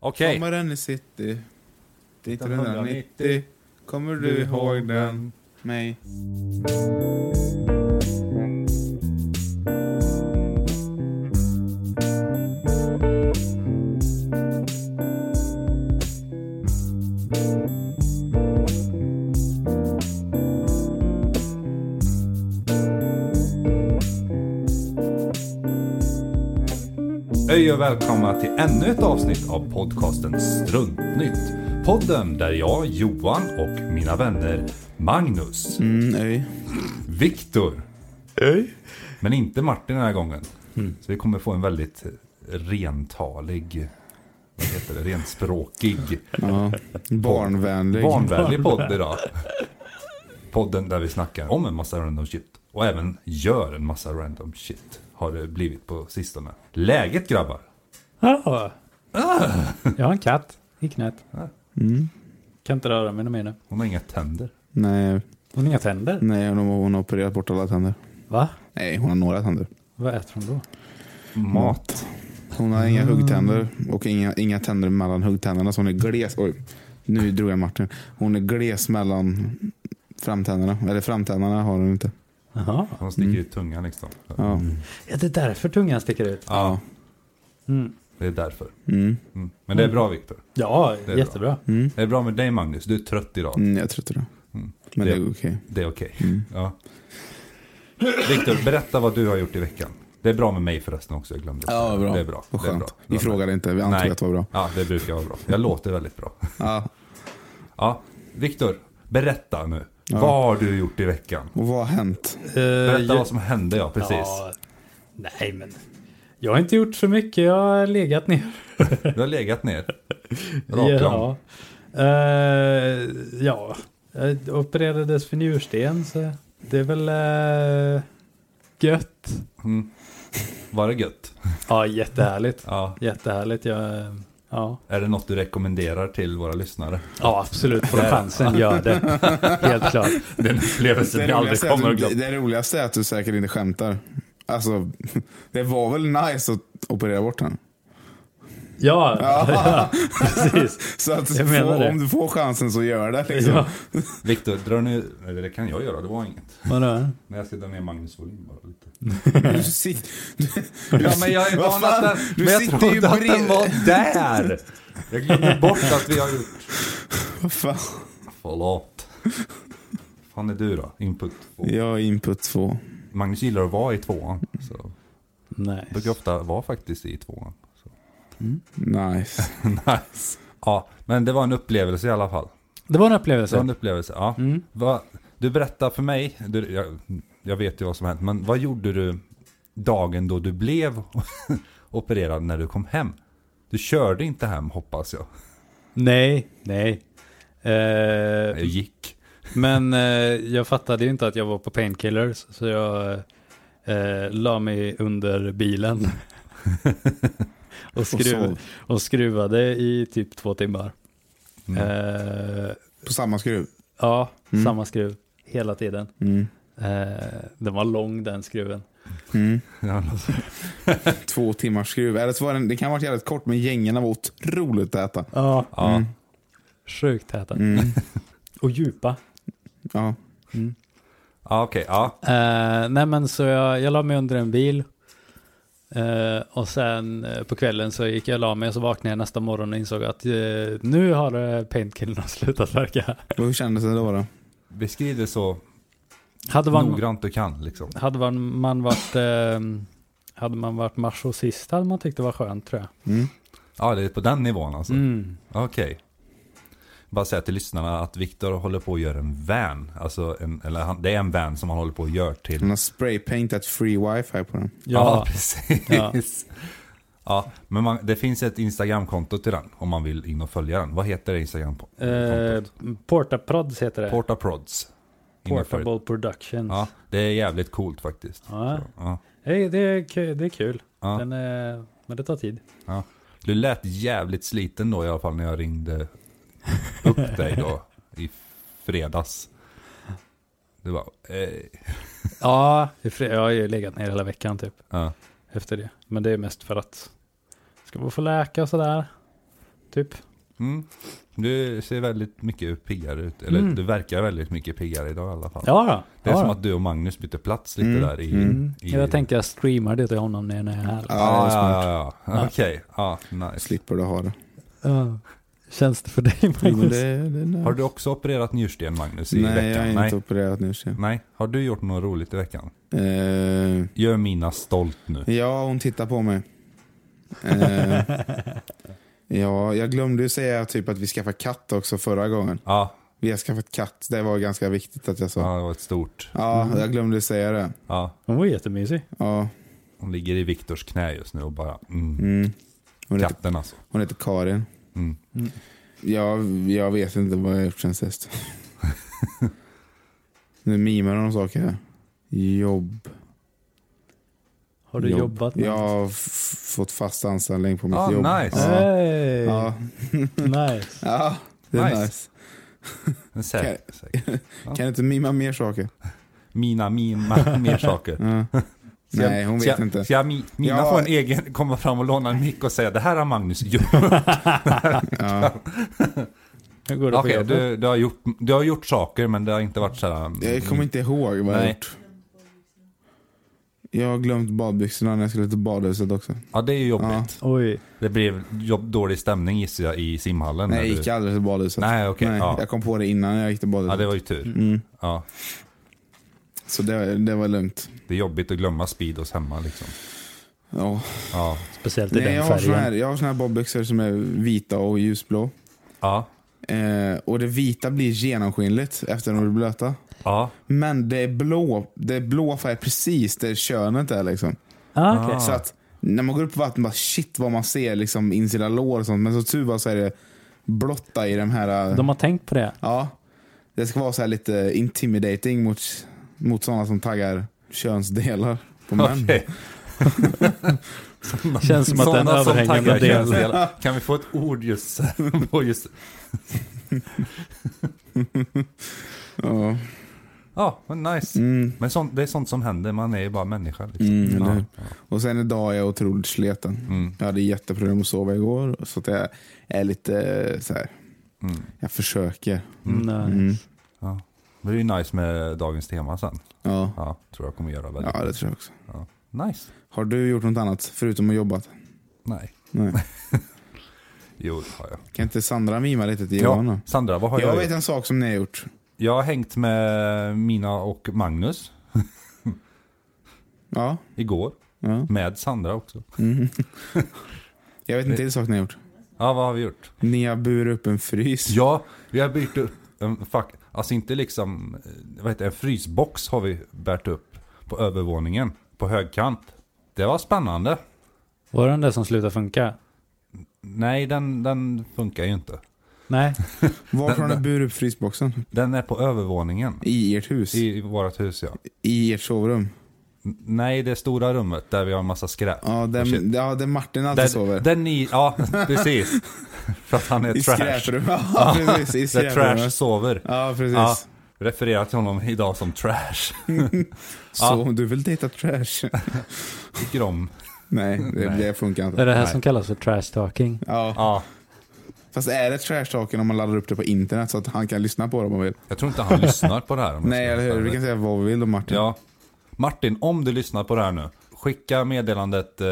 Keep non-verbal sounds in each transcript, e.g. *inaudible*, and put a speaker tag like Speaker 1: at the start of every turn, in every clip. Speaker 1: Okej.
Speaker 2: Sommaren i city 1990
Speaker 3: 1990.
Speaker 2: Kommer du ihåg den? Mig?
Speaker 1: Hej och välkomna till ännu ett avsnitt av podcasten Struntnytt. Podden där jag, Johan och mina vänner Magnus,
Speaker 2: Mm, öj.
Speaker 1: Viktor,
Speaker 2: Öj?
Speaker 1: men inte Martin den här gången.
Speaker 2: Mm.
Speaker 1: Så vi kommer få en väldigt rentalig, vad heter det, renspråkig,
Speaker 2: Ja. Barnvänlig.
Speaker 1: barnvänlig podd idag. Podden där vi snackar om en massa random shit och även gör en massa random shit. Har det blivit på sistone. Läget grabbar?
Speaker 3: Ah. Jag har en katt i knät. Mm. Kan inte röra mig något mer nu.
Speaker 1: Hon har inga tänder.
Speaker 2: Nej,
Speaker 3: Hon har inga tänder.
Speaker 2: nej hon, har, hon har opererat bort alla tänder.
Speaker 3: Va?
Speaker 2: Nej, hon har några tänder.
Speaker 3: Vad äter hon då?
Speaker 2: Mat. Hon har inga huggtänder och inga, inga tänder mellan huggtänderna. Så hon är gles. Oj, nu drog jag Martin. Hon är gles mellan framtänderna. Eller framtänderna har hon inte.
Speaker 3: Jaha.
Speaker 1: Hon sticker ut tungan liksom.
Speaker 2: Mm. Ja.
Speaker 3: Är det därför tungan sticker ut?
Speaker 1: Ja,
Speaker 3: Mm.
Speaker 1: det är därför.
Speaker 2: Mm.
Speaker 1: Mm. Men det är bra Viktor.
Speaker 3: Ja,
Speaker 1: är
Speaker 3: jättebra.
Speaker 2: Mm.
Speaker 1: Det är bra med dig Magnus, du är trött idag.
Speaker 2: Mm, jag tror inte det.
Speaker 1: Mm.
Speaker 2: Men det
Speaker 1: Det-
Speaker 2: är okej.
Speaker 1: Det är okej.
Speaker 2: Mm.
Speaker 1: Ja. Viktor, berätta vad du har gjort i veckan. Det är bra med mig förresten också, jag glömde. säga.
Speaker 2: Ja, bra.
Speaker 1: Det är bra.
Speaker 2: Vad
Speaker 1: Det är bra.
Speaker 2: skönt. Vi frågade inte, vi antog
Speaker 1: Nej.
Speaker 2: att det var bra.
Speaker 1: Ja, det brukar vara bra. Jag låter väldigt bra.
Speaker 2: Ja.
Speaker 1: Ja, Viktor, berätta nu.
Speaker 2: Ja. Eh,
Speaker 1: Vad har du gjort i veckan?
Speaker 2: Och vad har hänt?
Speaker 1: Berätta vad som hände, ja precis.
Speaker 3: Eh, Ja, nej, men jag har inte gjort så mycket. Jag har legat ner.
Speaker 1: Du har legat ner. Raklång.
Speaker 3: Eh, ja, jag opererades för njursten så det är väl eh, gött.
Speaker 1: Mm. Var det gött?
Speaker 3: Ja, jättehärligt.
Speaker 1: Ja.
Speaker 3: Jättehärligt. Jag, eh, ja.
Speaker 1: Är det något du rekommenderar till våra lyssnare?
Speaker 3: ja, absolut. Får du chansen, gör det. Helt klart.
Speaker 1: Det är en upplevelse vi aldrig
Speaker 2: roligaste är att
Speaker 1: kommer att
Speaker 2: du-
Speaker 1: glömma.
Speaker 2: det roligaste är att du säkert inte skämtar. Alltså, *laughs* det var väl nice att operera bort den?
Speaker 3: *laughs* Ja, precis.
Speaker 2: Så att
Speaker 3: Jag menar
Speaker 2: få,
Speaker 3: det.
Speaker 2: om du får chansen så gör det. Liksom.
Speaker 3: Ja,
Speaker 1: Viktor, dra nu... Eller det kan jag göra, det var inget.
Speaker 3: vadå?
Speaker 1: Men jag ska dra ner Magnus volym bara lite.
Speaker 2: Du sit- *laughs* du- du
Speaker 1: Ja,
Speaker 2: sit-
Speaker 1: men jag är
Speaker 2: vad
Speaker 1: van
Speaker 2: fan,
Speaker 1: att den...
Speaker 2: Du
Speaker 1: Men jag
Speaker 2: sitter ju
Speaker 1: trodde att den
Speaker 2: bredvid.
Speaker 1: var där! Jag glömde bort att vi har gjort...
Speaker 2: Vad fan?
Speaker 1: Förlåt. fan är du då? Input 2.
Speaker 2: Jag är input två.
Speaker 1: Magnus gillar att vara i tvåan. Så
Speaker 3: Nej.
Speaker 1: brukar ofta vara faktiskt i tvåan. *laughs* Så.
Speaker 2: Nice.
Speaker 1: nice. Ja, men det var en upplevelse i alla fall.
Speaker 3: Det var en
Speaker 1: Det var
Speaker 3: upplevelse.
Speaker 1: en upplevelse, ja.
Speaker 3: Mm.
Speaker 1: Va, du berättar för mig, du, jag, jag vet ju vad som hänt, men vad gjorde du dagen då du blev *laughs* opererad när du kom hem? Du körde inte hem hoppas jag.
Speaker 3: Nej, nej.
Speaker 1: Jag
Speaker 3: Eh, *laughs*
Speaker 1: gick.
Speaker 3: Men eh, jag fattade ju inte att jag var på painkillers, så jag eh, la mig under bilen. och, skruv,
Speaker 2: sov.
Speaker 3: och skruvade i typ två timmar.
Speaker 1: Mm.
Speaker 3: Eh,
Speaker 2: På samma skruv.
Speaker 3: ja,
Speaker 2: Mm.
Speaker 3: samma skruv hela tiden.
Speaker 2: Mm.
Speaker 3: Eh, den var lång den skruven.
Speaker 2: Mm.
Speaker 1: Ja,
Speaker 2: Två timmars skruv. Eller så var den, det kan ha varit jävligt kort, men gängarna var otroligt täta.
Speaker 3: Ja,
Speaker 1: ja.
Speaker 2: Mm.
Speaker 3: sjukt täta.
Speaker 2: Mm.
Speaker 3: Och djupa.
Speaker 2: Ja.
Speaker 1: ja okej. Ja.
Speaker 3: Eh, nej men så jag, jag la mig under en bil. Eh, och sen eh, på kvällen så gick jag och la mig och så vaknade jag nästa morgon och insåg att eh, nu *laughs* har eh, painkillerna slutat verka.
Speaker 2: Och hur kändes det då? då?
Speaker 1: Beskriv det så
Speaker 3: Hade man,
Speaker 1: noggrant du kan liksom.
Speaker 3: hade man, man varit, eh, hade man varit marsosist hade man tyckt det var skönt tror jag.
Speaker 2: Mm.
Speaker 1: Ja, det är på den nivån alltså.
Speaker 3: Mm.
Speaker 1: Okej. Bara säga till lyssnarna att Viktor håller på att göra en van. Alltså en, eller han, det är en van som han håller på att göra till
Speaker 2: Han har spraypaintat free wifi på den.
Speaker 1: Ja,
Speaker 3: Ja,
Speaker 1: precis. Ja.
Speaker 3: Ja.
Speaker 1: men man, det finns ett Instagramkonto till den om man vill in och följa den. Vad heter det Instagramkontot?
Speaker 3: eh, Portaprods heter det.
Speaker 1: Porta Prods. In och följ-
Speaker 3: Portable Productions.
Speaker 1: Ja, det är jävligt coolt faktiskt.
Speaker 3: Ja.
Speaker 1: Så, ja,
Speaker 3: Hej, det, är, ku- det är kul,
Speaker 1: ja.
Speaker 3: men, eh, men det tar tid.
Speaker 1: Du lät jävligt sliten då i alla fall när jag ringde upp dig då i fredags. Du var eh,
Speaker 3: Ja, i fre- jag har ju legat ner hela veckan typ.
Speaker 1: ja.
Speaker 3: efter det. Men det är mest för att ska man få läka och sådär. typ.
Speaker 1: Mm. Du ser väldigt mycket piggare ut. Eller
Speaker 3: Mm.
Speaker 1: du verkar väldigt mycket piggare idag i alla fall.
Speaker 3: Ja, då.
Speaker 1: Det är
Speaker 3: ja,
Speaker 1: som
Speaker 3: då.
Speaker 1: att du och Magnus byter plats lite
Speaker 2: Mm.
Speaker 1: där i...
Speaker 2: Mm.
Speaker 1: i
Speaker 3: Jag tänkte jag streamar det till honom när jag är här.
Speaker 2: Ja, det
Speaker 1: Ja,
Speaker 2: är
Speaker 1: ja,
Speaker 2: smart.
Speaker 1: ja. ja.
Speaker 3: Ja.
Speaker 1: Okej. Ja, nice.
Speaker 2: Slipper du ha det.
Speaker 3: Ja. Känns det
Speaker 2: *laughs*
Speaker 3: för dig
Speaker 2: Jo, men
Speaker 3: Magnus?
Speaker 2: det, det, det.
Speaker 1: Har du också opererat njursten Magnus i
Speaker 2: Nej, jag
Speaker 1: veckan?
Speaker 2: har inte
Speaker 1: Nej.
Speaker 2: opererat nu. Så.
Speaker 1: Nej. Har du gjort något roligt i veckan?
Speaker 2: Eh,
Speaker 1: Gör mina stolt nu.
Speaker 2: ja, hon tittar på mig. Eh, ja, jag glömde ju säga typ att vi skaffade katt också förra gången.
Speaker 1: Ja,
Speaker 2: Vi har skaffat katt. Det var ganska viktigt att jag sa.
Speaker 1: ja det var ett stort.
Speaker 2: Ja, jag glömde säga det.
Speaker 1: Ja.
Speaker 3: Hon var jättemysig.
Speaker 2: Ja,
Speaker 1: Hon ligger i Viktors knä just nu och bara... Mm.
Speaker 2: mm. hon, heter,
Speaker 1: Katten alltså.
Speaker 2: hon heter Karin.
Speaker 1: Mm.
Speaker 2: Ja, jag vet inte vad jag har gjort
Speaker 1: *laughs*
Speaker 2: sen sist. nu mimar hon om saker här. Jobb.
Speaker 3: Har du
Speaker 2: Jobb.
Speaker 3: jobbat med
Speaker 2: Jag har f- fått fast anställning på mitt
Speaker 1: Ah,
Speaker 2: jobb.
Speaker 1: nice.
Speaker 2: Ja.
Speaker 3: Hey.
Speaker 2: Ja.
Speaker 3: Nice.
Speaker 2: ja, det är
Speaker 1: Nice.
Speaker 2: nice.
Speaker 1: En säker. säker.
Speaker 2: Kan du inte mima mer saker?
Speaker 1: Mina, mina, *laughs* mer saker. Ska
Speaker 2: Ja.
Speaker 1: jag-
Speaker 2: Nej, hon
Speaker 1: ska
Speaker 2: vet
Speaker 1: jag,
Speaker 2: inte.
Speaker 1: Ska jag, mi- Mina
Speaker 2: Ja.
Speaker 1: får en egen, komma fram och låna en mick och säga det här har Magnus
Speaker 2: *laughs*
Speaker 1: gjort.
Speaker 2: Ja.
Speaker 3: Hur går det på
Speaker 1: Okej,
Speaker 3: jobbet?
Speaker 1: du, du, har gjort- du har gjort saker men det har inte varit så här... mm,
Speaker 2: Jag kommer inte ihåg vad jag har
Speaker 1: Nej.
Speaker 2: gjort. Jag har glömt badbyxorna när jag skulle till badhuset också.
Speaker 1: Ja, det är ju jobbigt.
Speaker 3: Oj.
Speaker 1: Det blev jobb, dålig stämning gissar jag i simhallen.
Speaker 2: Nej,
Speaker 1: när
Speaker 2: jag gick
Speaker 1: du...
Speaker 2: aldrig till badhuset.
Speaker 1: Nej, okej.
Speaker 2: Nej,
Speaker 1: ja.
Speaker 2: Jag kom på det innan jag gick till
Speaker 1: ja,
Speaker 2: badhuset.
Speaker 1: det var ju tur.
Speaker 2: mm.
Speaker 1: Ja,
Speaker 2: Så det, det var lugnt.
Speaker 1: det är jobbigt att glömma Speedos hemma liksom.
Speaker 2: Ja.
Speaker 1: Ja,
Speaker 3: Speciellt i
Speaker 2: Nej, jag,
Speaker 3: den
Speaker 2: har såna
Speaker 3: färgen.
Speaker 2: här, jag har såna här badbyxor som är vita och ljusblå.
Speaker 1: ja,
Speaker 2: Eh, och det vita blir genomskinligt efter de blir blöta.
Speaker 1: ja.
Speaker 2: Men det är blå, det är blå färg precis där könet är liksom.
Speaker 3: Ah, okej.
Speaker 1: Ah.
Speaker 2: Så att när man går upp på vatten, bara shit vad man ser liksom insida lår och sånt. Men så tur var så är det blotta i de här...
Speaker 3: De har tänkt på det.
Speaker 2: Ja. Det ska vara så här lite intimidating mot, mot sådana som taggar könsdelar på män.
Speaker 1: *laughs* Okej.
Speaker 3: *laughs* Känns som att den
Speaker 1: Sådana som
Speaker 3: överhängande
Speaker 1: taggar
Speaker 3: delen.
Speaker 1: könsdelar. Kan vi få ett ord just *laughs* på just...
Speaker 2: *laughs* Ja.
Speaker 1: Ja, men nice.
Speaker 2: Mm.
Speaker 1: Men sånt, det är sånt som händer, man är ju bara människa. Liksom.
Speaker 2: Mm, eller
Speaker 1: ja,
Speaker 2: hur? Och sen idag är jag otroligt sleten.
Speaker 1: ja. Mm,
Speaker 2: Jag hade jätteproblem att sova igår. Så att jag är lite eh, så här.
Speaker 1: mm.
Speaker 2: Jag försöker.
Speaker 3: Nej.
Speaker 2: Mm.
Speaker 1: Ja. Det är ju nice med dagens tema sen.
Speaker 2: Ja.
Speaker 1: Ja, tror jag kommer göra väldigt
Speaker 2: ja, det tror jag också.
Speaker 1: nice.
Speaker 2: Har du gjort något annat förutom att jobba?
Speaker 1: Nej,
Speaker 2: Nej.
Speaker 1: jo det har jag.
Speaker 2: Kan inte Sandra mima lite till Johan?
Speaker 1: Ja,
Speaker 2: då?
Speaker 1: Sandra, vad har jag,
Speaker 2: Jag
Speaker 1: gjort?
Speaker 2: vet en sak som ni har gjort.
Speaker 1: Jag har hängt med Mina och Magnus
Speaker 2: Ja.
Speaker 1: igår.
Speaker 2: ja.
Speaker 1: Med Sandra också.
Speaker 2: Mm. Jag vet inte en sak ni har gjort.
Speaker 1: Ja, vad har vi gjort?
Speaker 2: Ni har burit upp en frys.
Speaker 1: Ja, vi har byggt upp en fuck, alltså inte liksom, eh, vad heter det, en frysbox har vi bärt upp på övervåningen på högkant. Det var spännande.
Speaker 3: Var det den där som slutade funka?
Speaker 1: Nej, den, den funkar ju inte.
Speaker 3: Nej.
Speaker 2: Varför har ni burit upp frysboxen?
Speaker 1: Den är på övervåningen
Speaker 2: I ert hus? I,
Speaker 1: i vårt hus ja.
Speaker 2: ert sovrum?
Speaker 1: N- Nej, det stora rummet där vi har en massa skräp.
Speaker 2: Ja, där,
Speaker 1: Oh, shit.
Speaker 2: ja, där Martin alltid
Speaker 1: Där,
Speaker 2: sover.
Speaker 1: där ni, ja precis.
Speaker 2: *laughs*
Speaker 1: För att han är
Speaker 2: I
Speaker 1: trash.
Speaker 2: skräprummet. Ja, precis. I
Speaker 1: Där trash
Speaker 2: skräprummet.
Speaker 1: sover.
Speaker 2: Ja,
Speaker 1: Ja,
Speaker 2: precis.
Speaker 1: refererar till honom idag som trash.
Speaker 2: Så om du vill dejta trash? *laughs*
Speaker 1: Tycker om.
Speaker 2: Nej, det,
Speaker 1: Nej.
Speaker 2: det funkar
Speaker 3: Det är
Speaker 2: inte.
Speaker 3: det här
Speaker 1: Nej.
Speaker 3: som kallas för trash talking.
Speaker 2: Ja.
Speaker 1: Ja,
Speaker 2: Fast är det trash-talken om man laddar upp det på internet så att han kan lyssna på det om han vill?
Speaker 1: jag tror inte han lyssnar på det här. om jag
Speaker 2: Nej,
Speaker 1: ska vara
Speaker 2: eller hur?
Speaker 1: helt
Speaker 2: Vi
Speaker 1: ärlig.
Speaker 2: kan säga vad vi vill om Martin.
Speaker 1: Ja. Martin, om du lyssnar på det här nu, skicka meddelandet... Eh,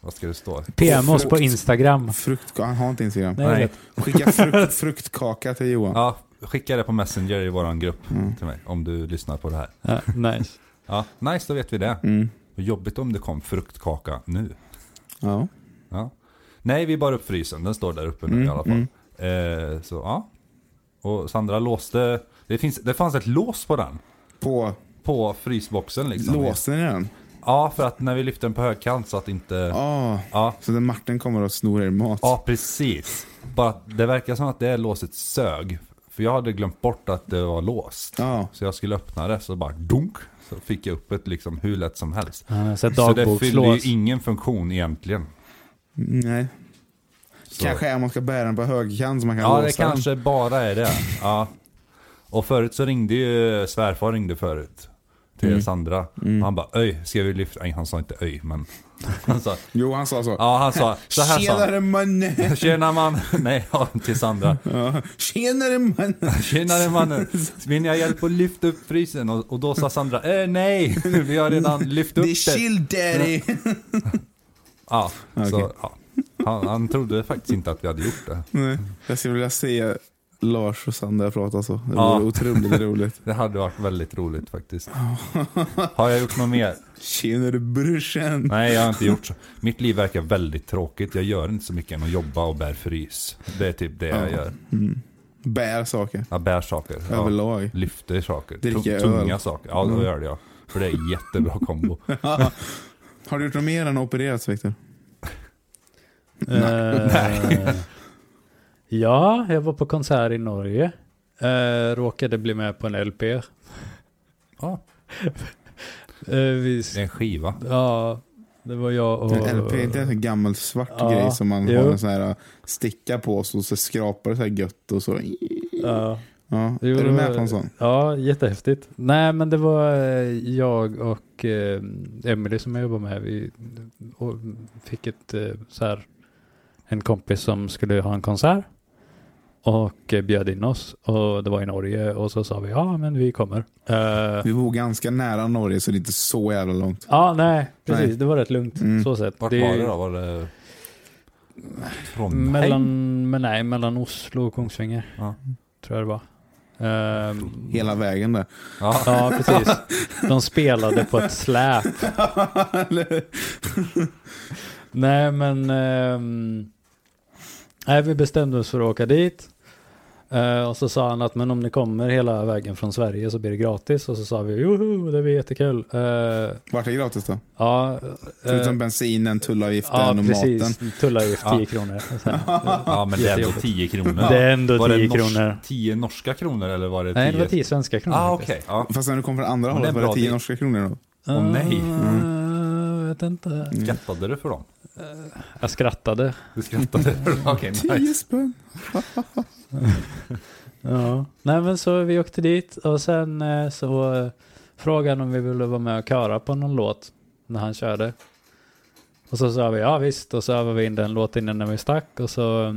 Speaker 1: vad ska det stå?
Speaker 3: PM oss på Instagram.
Speaker 2: Frukt, han har inte Instagram.
Speaker 3: Nej,
Speaker 1: Nej.
Speaker 3: vet.
Speaker 2: Skicka frukt, fruktkaka till Johan.
Speaker 1: Ja, skicka det på Messenger i vår grupp
Speaker 2: Mm.
Speaker 1: till mig, om du lyssnar på det här.
Speaker 3: Ja, *laughs* nice.
Speaker 1: Ja, nice, då vet vi det.
Speaker 2: Mm.
Speaker 1: Och Jobbigt om det kom fruktkaka nu.
Speaker 2: Ja.
Speaker 1: Ja. Nej, vi bar upp frysen, den står där uppe nu i
Speaker 2: Mm,
Speaker 1: alla fall. Eh, så ja. Och Sandra låste... Det, finns, det fanns ett lås på den.
Speaker 2: På
Speaker 1: På frysboxen liksom.
Speaker 2: låste ni den?
Speaker 1: Ja, för att när vi lyfte den på högkant så att inte...
Speaker 2: Ja.
Speaker 1: ja.
Speaker 2: Så när Martin kommer och snor er mat.
Speaker 1: Ja, precis. Bara att det verkar som att det är låset sög. För jag hade glömt bort att det var låst.
Speaker 2: Ja.
Speaker 1: Så jag skulle öppna det, så bara dunk. Så fick jag upp ett liksom hur lätt som helst.
Speaker 3: Ja, Så ett
Speaker 1: Så det fyllde
Speaker 3: dagbokslås.
Speaker 1: ju ingen funktion egentligen.
Speaker 2: Nej.
Speaker 1: Så.
Speaker 2: Kanske är om man ska bära den på högerkant så man kan
Speaker 1: Ja,
Speaker 2: låsa
Speaker 1: det kanske bara är det. Ja. Och förut så ringde ju, svärfar ringde förut. till
Speaker 2: Mm.
Speaker 1: Sandra.
Speaker 2: Mm.
Speaker 1: Och han bara öj, ska vi lyfta? Nej, han sa inte öj, men *laughs* han sa,
Speaker 2: Jo, han sa så.
Speaker 1: ja han sa, så här sa han.
Speaker 2: Tjenare mannen! *laughs*
Speaker 1: Tjena man, *laughs* nej ja, till Sandra.
Speaker 2: Ja. Tjenare mannen!
Speaker 1: Tjenare mannen, vill ni ha hjälp att lyfta upp frysen? Och, och då sa Sandra, eh nej, *laughs* vi har redan lyft
Speaker 2: Det
Speaker 1: upp
Speaker 2: är
Speaker 1: den.
Speaker 2: chill daddy!
Speaker 1: Ja,
Speaker 2: Okej.
Speaker 1: så, ja. Han, han trodde faktiskt inte att vi hade gjort det.
Speaker 2: Nej, jag skulle vilja se Lars och Sandra prata så. Det vore
Speaker 1: Ja. *laughs*
Speaker 2: otroligt roligt.
Speaker 1: Det hade varit väldigt roligt faktiskt. Har jag gjort något mer?
Speaker 2: Tjenare brorsan!
Speaker 1: Nej, jag har inte gjort så. Mitt liv verkar väldigt tråkigt. Jag gör inte så mycket än att jobba och bär frys. Det är typ det jag
Speaker 2: Ja.
Speaker 1: gör.
Speaker 2: Mm. Bär saker.
Speaker 1: Jag bär saker. Ja.
Speaker 2: Överlag. *laughs*
Speaker 1: Lyfter saker.
Speaker 2: Dricker
Speaker 1: Tu-
Speaker 2: öl.
Speaker 1: Tunga saker. Ja,
Speaker 2: Mm.
Speaker 1: det gör det jag. För det är en jättebra
Speaker 2: *laughs*
Speaker 1: kombo.
Speaker 2: Har du gjort något mer än att opererats Viktor?
Speaker 3: Eh, *laughs* ja, jag var på konsert i Norge. Eh, råkade bli med på en LP. Eh, *laughs*
Speaker 1: Ja,
Speaker 3: vi,
Speaker 1: det är en skiva.
Speaker 3: ja, det var jag och...
Speaker 2: En LP, inte en sån gammal svart
Speaker 3: Ja,
Speaker 2: grej som man
Speaker 3: jo.
Speaker 2: har en sån här äh, sticka på så, så skrapar det så här gött och så.
Speaker 3: Ja,
Speaker 2: Ja.
Speaker 3: Jo,
Speaker 2: är du med
Speaker 3: eh,
Speaker 2: på en sån?
Speaker 3: ja, jättehäftigt. Nej, men det var eh, jag och eh, Emily som jag jobbar med. Vi och fick ett eh, så här, en kompis som skulle ha en konsert och eh, bjöd in oss och det var i Norge och så sa vi ja, men vi kommer. Eh,
Speaker 1: *laughs*
Speaker 2: Vi bor ganska nära Norge så det är inte så jävla långt.
Speaker 3: Ja, nej, precis.
Speaker 2: Nej.
Speaker 3: Det var rätt lugnt.
Speaker 2: Mm.
Speaker 3: Så sett.
Speaker 1: Vart
Speaker 3: det,
Speaker 1: var det då? Var det... Trondheim?
Speaker 3: Mellan, men nej, mellan Oslo och Kungsvinger.
Speaker 1: Ja.
Speaker 3: Tror jag det var. Ehm,
Speaker 2: Hela vägen där.
Speaker 1: Ja,
Speaker 3: Ja, precis. De spelade på ett släp.
Speaker 2: Eller-
Speaker 3: Nej, men... ehm, nej, vi bestämde oss för att åka dit. Eh, och så sa han att men om ni kommer hela vägen från Sverige så blir det gratis. Och så sa vi joho, det blir jättekul. Eh,
Speaker 2: Vart är gratis då?
Speaker 3: ja,
Speaker 2: Förutom
Speaker 3: eh,
Speaker 2: bensinen, tullavgiften
Speaker 3: ja,
Speaker 2: och maten.
Speaker 3: precis. Tullavgift 10
Speaker 1: Ja.
Speaker 3: kronor. Och sen-
Speaker 1: ja, men det är ändå 10 kronor.
Speaker 3: Det är ändå
Speaker 1: Var det
Speaker 3: 10
Speaker 1: nors-
Speaker 3: kronor.
Speaker 1: 10 norska kronor eller var det 10?
Speaker 3: Nej, det var 10 svenska kronor.
Speaker 1: Ah,
Speaker 3: faktiskt.
Speaker 1: okej. Ja.
Speaker 2: Fast när du kom från andra
Speaker 1: Men det är
Speaker 2: hållet var det
Speaker 1: bra
Speaker 2: 10
Speaker 1: deal.
Speaker 2: norska kronor då?
Speaker 1: Åh, nej. Mm.
Speaker 3: Eh, jag vet inte.
Speaker 1: Skrattade du för dem?
Speaker 3: Jag skrattade.
Speaker 1: Du skrattade för dem? *laughs* Okej, nice.
Speaker 2: spänn.
Speaker 3: Ja. Nej, men så vi åkte dit och sen eh, så eh, frågade han om vi ville vara med och köra på någon låt när han körde. Och så sa vi ja visst och så övade vi in den låten innan när vi stack och så eh,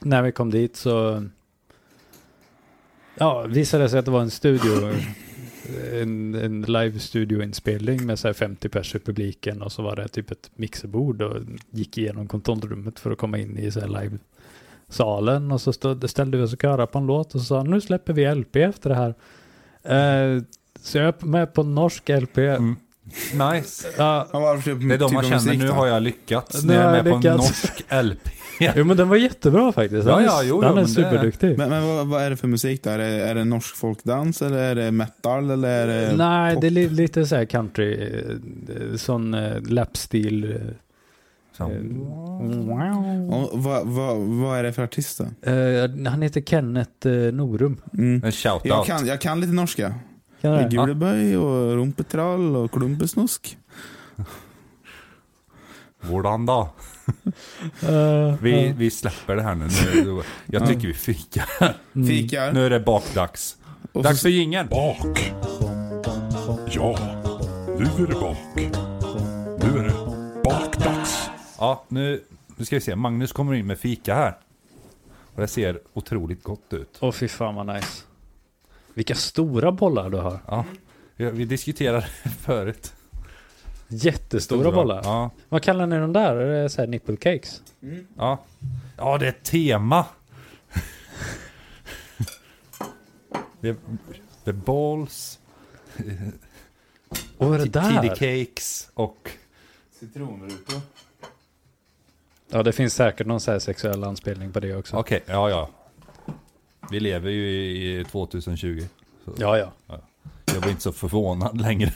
Speaker 3: när vi kom dit så ja, visade det sig att det var en studio eh, en, en live studioinspelning med så här 50 pers i publiken och så var det typ ett mixerbord och gick igenom kontrollrummet för att komma in i så här live salen och så stod, ställde vi oss och körade på en låt och så sa han, nu släpper vi LP efter det här. Eh, så jag är med på norsk LP.
Speaker 1: Mm. Nice.
Speaker 3: Ja,
Speaker 2: Ja, varför köper
Speaker 1: Det är de
Speaker 2: typ
Speaker 1: man
Speaker 2: av
Speaker 1: känner,
Speaker 2: musik
Speaker 1: nu
Speaker 2: då?
Speaker 1: har jag lyckats.
Speaker 3: Nu
Speaker 1: Nu är
Speaker 3: har
Speaker 1: jag
Speaker 3: jag
Speaker 1: med på en
Speaker 3: lyckats.
Speaker 1: norsk LP.
Speaker 3: jo men den var jättebra faktiskt.
Speaker 1: Ja,
Speaker 3: Han är,
Speaker 1: ja, jo,
Speaker 3: han
Speaker 1: ja,
Speaker 3: är
Speaker 1: men det är-
Speaker 3: superduktig.
Speaker 2: Men, eh, men vad, vad är det för musik då? Är det, är det norsk folkdans eller är det metal eller är det...
Speaker 3: Nej,
Speaker 2: pop?
Speaker 3: det är li- lite så här country, eh, sån eh, lapstil. eh,
Speaker 1: Så.
Speaker 3: Wow.
Speaker 2: Och vad, vad, vad är det för artist då?
Speaker 3: Eh, han heter Kenneth eh, Norum.
Speaker 2: Mm.
Speaker 1: En shout
Speaker 2: Jag,
Speaker 1: out.
Speaker 2: kan, jag kan lite norska.
Speaker 3: Kan du det?
Speaker 2: Guleböj och rumpetrall och klumpesnusk.
Speaker 1: Hvordan då?
Speaker 3: Eh,
Speaker 1: Vi,
Speaker 3: ja.
Speaker 1: vi släpper det här nu. nu jag tycker vi fikar.
Speaker 3: Mm.
Speaker 2: Fikar.
Speaker 1: Nu är det bakdags.
Speaker 2: Och
Speaker 1: Dags
Speaker 2: så,
Speaker 1: för jingeln.
Speaker 4: Bak. Ja, nu är det bak. Nu är det bakdags.
Speaker 1: Ja, nu, nu ska vi se. Magnus kommer in med fika här. Och det ser otroligt gott ut.
Speaker 3: mm. Åh fy fan vad nice. Vilka stora bollar du har.
Speaker 1: Ja, vi vi diskuterade *laughs* förut.
Speaker 3: Jättestora bollar.
Speaker 1: Ja,
Speaker 3: Vad kallar ni de där? Är det så här nipple cakes?
Speaker 1: ja. ja det är ett tema. det, är, det är balls,
Speaker 3: Och vad är det
Speaker 1: kiddy
Speaker 3: där?
Speaker 1: cakes och...
Speaker 2: citronrutor.
Speaker 3: Ja, det finns säkert någon så här sexuell anspelning på det också.
Speaker 1: Okej, ja ja. Vi lever ju i i 2020.
Speaker 3: Ja, ja.
Speaker 1: Jag blir inte så förvånad längre.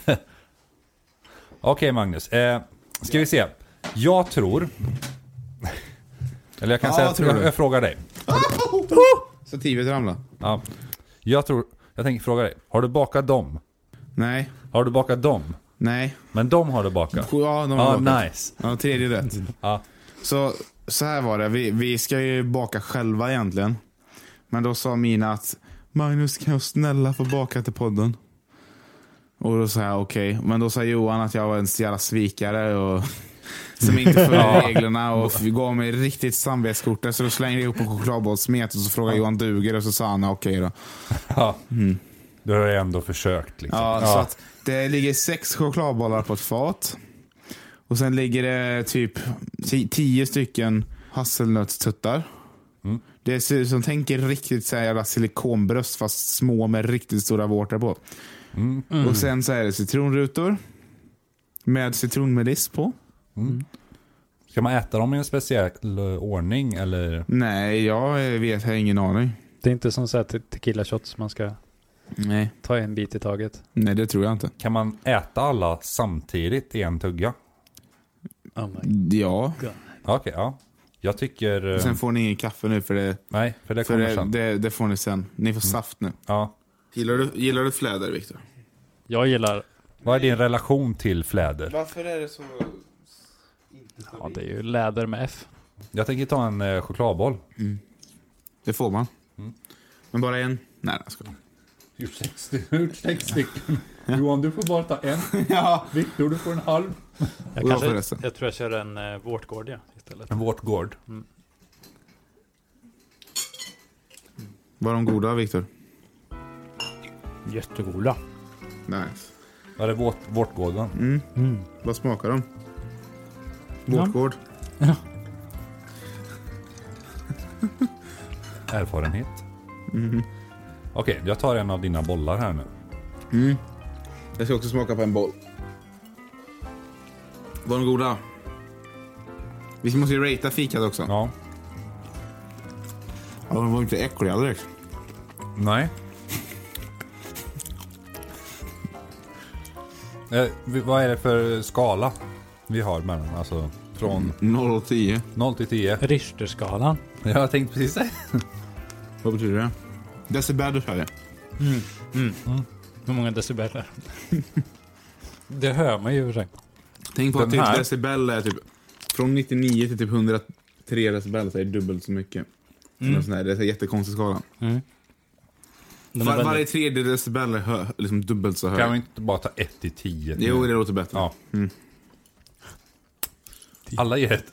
Speaker 1: Okej Magnus, eh, ska vi se. Jag tror... Eller jag kan
Speaker 2: Ja,
Speaker 1: säga
Speaker 2: vad
Speaker 1: att
Speaker 2: tror
Speaker 1: jag,
Speaker 2: du?
Speaker 1: jag frågar dig.
Speaker 2: Stativet ramlade.
Speaker 1: Ja. Jag tror... Jag tänker fråga dig. Har du bakat dem?
Speaker 2: Nej.
Speaker 1: Har du bakat dem?
Speaker 2: Nej.
Speaker 1: Men de har du bakat?
Speaker 2: Ja, de
Speaker 1: Ja,
Speaker 2: har bakat.
Speaker 1: nice.
Speaker 2: Ja, tredje rätt.
Speaker 1: Ja.
Speaker 2: Så, så här var det. Vi, vi ska ju baka själva egentligen. Men då sa Mina att Magnus kan jag snälla få baka till podden? Och då sa jag okej. Men då sa Johan att jag var en jävla svikare och *laughs* som inte följde reglerna och gav mig riktigt samvetskortet. Så då slängde jag ihop en chokladbollssmet och så frågade Johan duger och så sa han okej då.
Speaker 1: Ja. Du har ju ändå försökt liksom.
Speaker 2: Ja, Så att det ligger sex chokladbollar på ett fat. Och sen ligger det typ ti- tio stycken hasselnötstuttar.
Speaker 1: Mm.
Speaker 2: Det ser ut som, tänk er riktigt så här jävla silikonbröst fast små med riktigt stora vårtor på.
Speaker 1: Mm.
Speaker 2: Och sen så är det citronrutor. Med citronmeliss på.
Speaker 1: Mm. Ska man äta dem i en speciell eh, ordning eller?
Speaker 2: Nej, jag eh, vet, jag har ingen aning.
Speaker 3: Det är inte som så här te- tequila shots man ska
Speaker 2: Nej.
Speaker 3: ta en bit i taget.
Speaker 2: Nej, det tror jag inte.
Speaker 1: Kan man äta alla samtidigt i en tugga?
Speaker 3: Oh my
Speaker 2: Ja.
Speaker 3: god.
Speaker 1: Ja, Okej, ja. Jag tycker... eh,
Speaker 2: Sen får ni ingen kaffe nu för det,
Speaker 1: Nej, för det
Speaker 2: för
Speaker 1: kommer
Speaker 2: det,
Speaker 1: sen. Mm.
Speaker 2: det, det får ni sen. Ni får saft nu.
Speaker 1: Ja.
Speaker 2: Gillar du, gillar du fläder, Viktor?
Speaker 3: Jag gillar,
Speaker 1: Vad är din relation till fläder?
Speaker 2: Varför är det så...
Speaker 3: ja det är ju läder med F.
Speaker 1: Jag tänker ta en eh, chokladboll.
Speaker 2: Det får man. Mm. Men bara en? Nej, jag skojar.
Speaker 1: Gjort sex, gjort sex stycken. *laughs* Johan, du får bara ta en.
Speaker 2: *laughs* Ja.
Speaker 1: Viktor, du får en halv.
Speaker 3: Jag,
Speaker 2: Och jag får resten.
Speaker 3: jag tror jag kör en eh, vårtgård ja, istället.
Speaker 1: En vårtgård.
Speaker 2: Var de goda, Viktor?
Speaker 3: Jättegoda.
Speaker 2: Nice. Mm.
Speaker 1: Ja, det är vårt, vårtgården.
Speaker 2: Vad smakar de?
Speaker 3: Ja.
Speaker 2: Vårtgård?
Speaker 1: Erfarenhet.
Speaker 2: Mm.
Speaker 1: Okej, jag tar en av dina bollar här nu.
Speaker 2: Jag ska också smaka på en boll. Var de goda? Vi måste ju ratea fikat också.
Speaker 1: Ja.
Speaker 2: Ja, de var inte äckliga direkt.
Speaker 1: Nej. Eh, vi- vad är det för skala vi har mellan? Alltså från
Speaker 2: 0 och 10.
Speaker 1: 0 till
Speaker 2: *laughs*
Speaker 1: 10.
Speaker 3: Richterskalan.
Speaker 1: Jag har tänkt precis det.
Speaker 2: Vad betyder det? Decibel, sa jag.
Speaker 3: Hur många decibel är det? Det hör man ju i och för sig.
Speaker 2: Tänk på att
Speaker 1: Den här.
Speaker 2: typ decibel är typ från 99 till typ 103 decibel så är det dubbelt så mycket. Mm. Sån här, det är en jättekonstig skala.
Speaker 3: Den
Speaker 2: Var,
Speaker 3: är
Speaker 2: Varje
Speaker 3: väldigt,
Speaker 2: tredje decibel är hö, liksom dubbelt så hög.
Speaker 1: Kan vi inte bara ta 1 till 10?
Speaker 2: Jo, det Mm. låter bättre.
Speaker 1: Ja. Alla ger ett.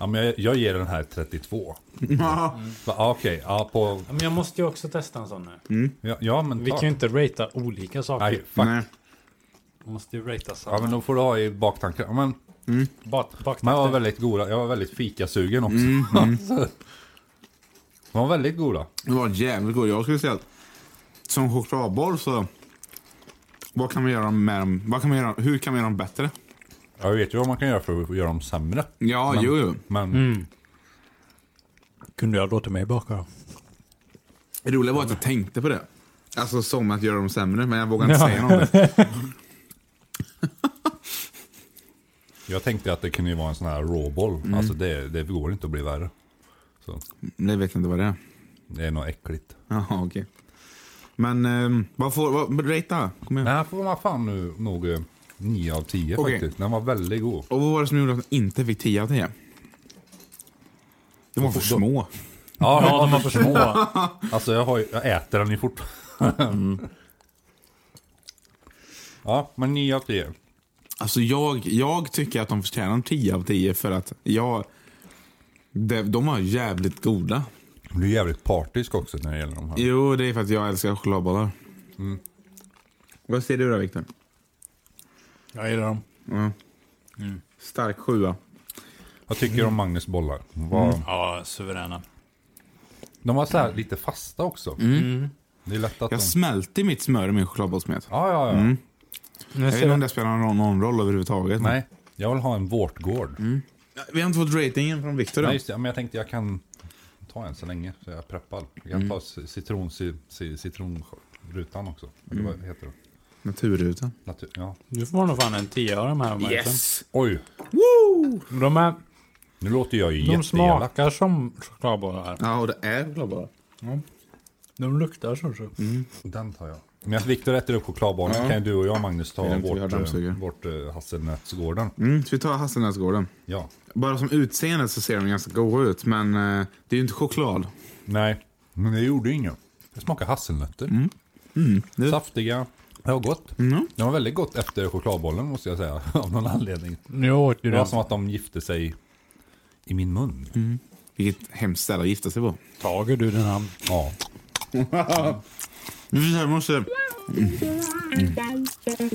Speaker 1: Ja, men jag, jag ger den här 32.
Speaker 2: Ja.
Speaker 1: Va, ja, Okej, ja, på...
Speaker 3: Ja, men jag måste ju också testa en sån nu.
Speaker 1: Ja, ja men ta.
Speaker 3: Mm. Vi kan ju inte ratea olika saker.
Speaker 1: Nej, fuck.
Speaker 2: Nej.
Speaker 3: Man måste ju ratea
Speaker 1: Ja,
Speaker 3: samma.
Speaker 1: men då får du ha i baktanken. Ja, Men
Speaker 3: Bak,
Speaker 1: man var väldigt goda. Jag var väldigt fikasugen också. *laughs* Så, de var väldigt goda.
Speaker 2: Det var jävligt gott. Jag skulle säga att som chokladboll så... Vad kan man göra med dem? Vad kan man göra, hur kan man göra dem bättre?
Speaker 1: Jag vet ju vad man kan göra för att göra dem sämre.
Speaker 2: Ja,
Speaker 1: Men-
Speaker 2: jo, jo.
Speaker 1: Men
Speaker 3: Kunde jag låtit mig baka då?
Speaker 2: Det roliga var att jag tänkte på det. Alltså som att göra dem sämre, men jag vågar inte
Speaker 3: Ja.
Speaker 2: säga något.
Speaker 1: jag tänkte att det kunde ju vara en sån här råboll. Alltså det, det går inte att bli värre. Så
Speaker 2: Det vet jag inte vad det är.
Speaker 1: det är nog äckligt.
Speaker 2: Jaha, *laughs* okej. Men ehm, vad får... Vad, rata, kom igen.
Speaker 1: Den här får man fan nu nog 9 av 10
Speaker 2: Okej.
Speaker 1: faktiskt. Den var väldigt god.
Speaker 2: Och vad var det som gjorde att den inte fick 10 av 10? De var för små.
Speaker 1: Ja,
Speaker 3: Ja, de var för små.
Speaker 1: Alltså jag, har, ju- jag äter den ju fortfarande. *laughs* Ja, men 9 av 10.
Speaker 2: Alltså jag, jag tycker att de förtjänar en 10 av 10 för att jag... De, de var jävligt goda.
Speaker 1: Du är jävligt partisk också när det gäller de här.
Speaker 2: Jo, det är för att jag älskar chokladbollar.
Speaker 1: Mm.
Speaker 2: Vad säger du då, Viktor?
Speaker 3: *laughs* Jag gillar dem.
Speaker 2: Stark sjua.
Speaker 1: Vad tycker du om Magnus bollar? Vad-
Speaker 2: Mm.
Speaker 3: Ja, suveräna.
Speaker 1: De var så här lite fasta också. Det är lätt att
Speaker 2: Mm. Jag Mm.
Speaker 1: de...
Speaker 2: smälte mitt smör i min chokladbollssmet.
Speaker 1: Ja, ja, ja.
Speaker 2: Jag vet inte om det spelar någon, någon roll överhuvudtaget.
Speaker 1: Nej, jag vill ha en vårtgård.
Speaker 2: Mm. Vi har inte fått ratingen från Viktor
Speaker 1: Nej,
Speaker 2: än.
Speaker 1: just det. Ja, Men jag tänkte jag kan ta en så länge så jag är preppad. Jag
Speaker 2: Mm.
Speaker 1: kan ta ci- citron, ci- ci- citronrutan också.
Speaker 2: Mm.
Speaker 1: Eller vad heter det?
Speaker 2: Naturrutan.
Speaker 1: Natur... Ja.
Speaker 3: Du får nog fan en 10 av de här. Marcus.
Speaker 1: Oj,
Speaker 3: De, är,
Speaker 1: nu låter jag ju
Speaker 3: de
Speaker 1: jätteelak.
Speaker 3: smakar som chokladbollar.
Speaker 2: Ja, och det är chokladbollar.
Speaker 3: De luktar som så.
Speaker 2: Mm.
Speaker 1: Den tar jag. Men att Viktor äter upp chokladbollen kan ju du och jag Magnus
Speaker 2: Vill
Speaker 1: ta
Speaker 2: inte vi ha
Speaker 1: vårt, eh,
Speaker 2: dammsugare?
Speaker 1: vårt eh, hasselnötsgården.
Speaker 2: Mm, så vi tar hasselnötsgården.
Speaker 1: Ja.
Speaker 2: Bara som utseende så ser de ganska goda ut, men eh, det är ju inte choklad.
Speaker 1: Nej, men det gjorde inget. Det smakar hasselnötter. Saftiga, Det var gott.
Speaker 2: Mm.
Speaker 1: Det var väldigt gott efter chokladbollen måste jag säga. *laughs* Av någon anledning.
Speaker 5: Nu åt ju
Speaker 1: Det var
Speaker 5: den.
Speaker 1: som att de gifte sig i min mun.
Speaker 2: Vilket hemskt ställe att gifta sig på.
Speaker 5: Tager du den här?
Speaker 1: Ja.
Speaker 2: Vi måste...
Speaker 1: Mm.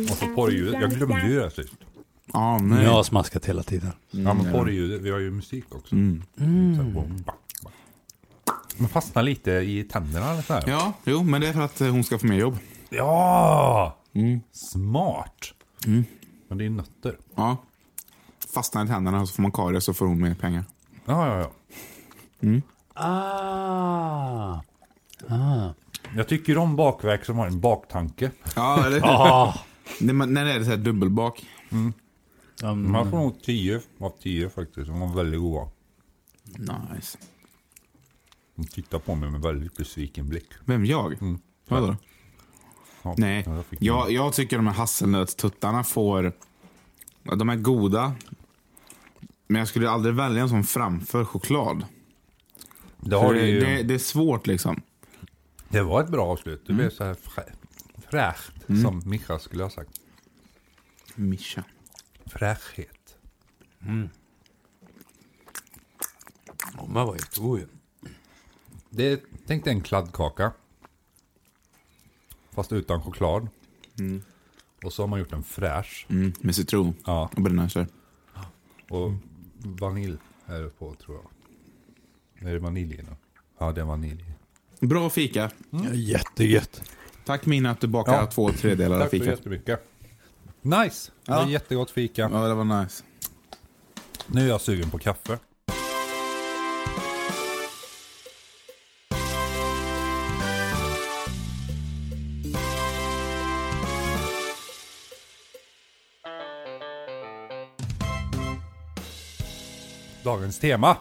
Speaker 1: Och så porrljudet. Jag glömde ju det här sist.
Speaker 2: Ja, nej.
Speaker 3: Jag har smaskat hela tiden.
Speaker 1: Ja men porrljudet. Vi har ju musik också. Mm. Så här, bom, bam, bam. Man fastnar lite i tänderna eller så här.
Speaker 2: Ja, jo, men det är för att eh, hon ska få mer jobb.
Speaker 1: Ja! Smart. Men det är nötter.
Speaker 2: Ja. Fastnar i tänderna och så får man karies och så får hon mer pengar.
Speaker 1: Ja, ja, ja.
Speaker 3: Ah!
Speaker 1: Jag tycker om bakverk som har en baktanke.
Speaker 2: Ja, eller
Speaker 3: ah.
Speaker 2: när, man, när det är så här dubbelbak.
Speaker 1: Mm. Man får nog 10 av 10 faktiskt. De var väldigt goda.
Speaker 2: Nice.
Speaker 1: De tittar på mig med väldigt besviken blick.
Speaker 2: Vem, jag?
Speaker 1: Mm.
Speaker 2: Vadå?
Speaker 1: Ja,
Speaker 2: Nej,
Speaker 1: ja, jag fick
Speaker 2: jag, jag tycker de här hasselnötstuttarna får... ja, De är goda. Men jag skulle aldrig välja en sån framför choklad.
Speaker 1: det,
Speaker 2: För
Speaker 1: har
Speaker 2: det,
Speaker 1: ju,
Speaker 2: det,
Speaker 1: det,
Speaker 2: det är svårt liksom.
Speaker 1: var ett bra avslut. Det blev så här frä, fräscht, som Micha skulle ha sagt.
Speaker 2: Mischa.
Speaker 1: Fräschhet.
Speaker 5: De här var jättegoda ju.
Speaker 1: Det, tänk dig en kladdkaka. Fast utan choklad. Mm. Och så har man gjort en fräsch.
Speaker 2: Mm, med citron
Speaker 1: Ja,
Speaker 2: och brännässlor.
Speaker 1: och vanilj är det på tror jag. Är det vanilj i den? Ja, det är vanilj.
Speaker 2: Bra fika.
Speaker 5: Ja, jättegött.
Speaker 2: Tack Mina att du bakade
Speaker 1: Ja.
Speaker 2: två tredjedelar av
Speaker 1: Tack så
Speaker 2: fikat.
Speaker 1: jättemycket. Nice! Det
Speaker 2: Ja.
Speaker 1: var jättegott fika.
Speaker 2: Ja, det var nice.
Speaker 1: Nu är jag sugen på kaffe. Dagens tema,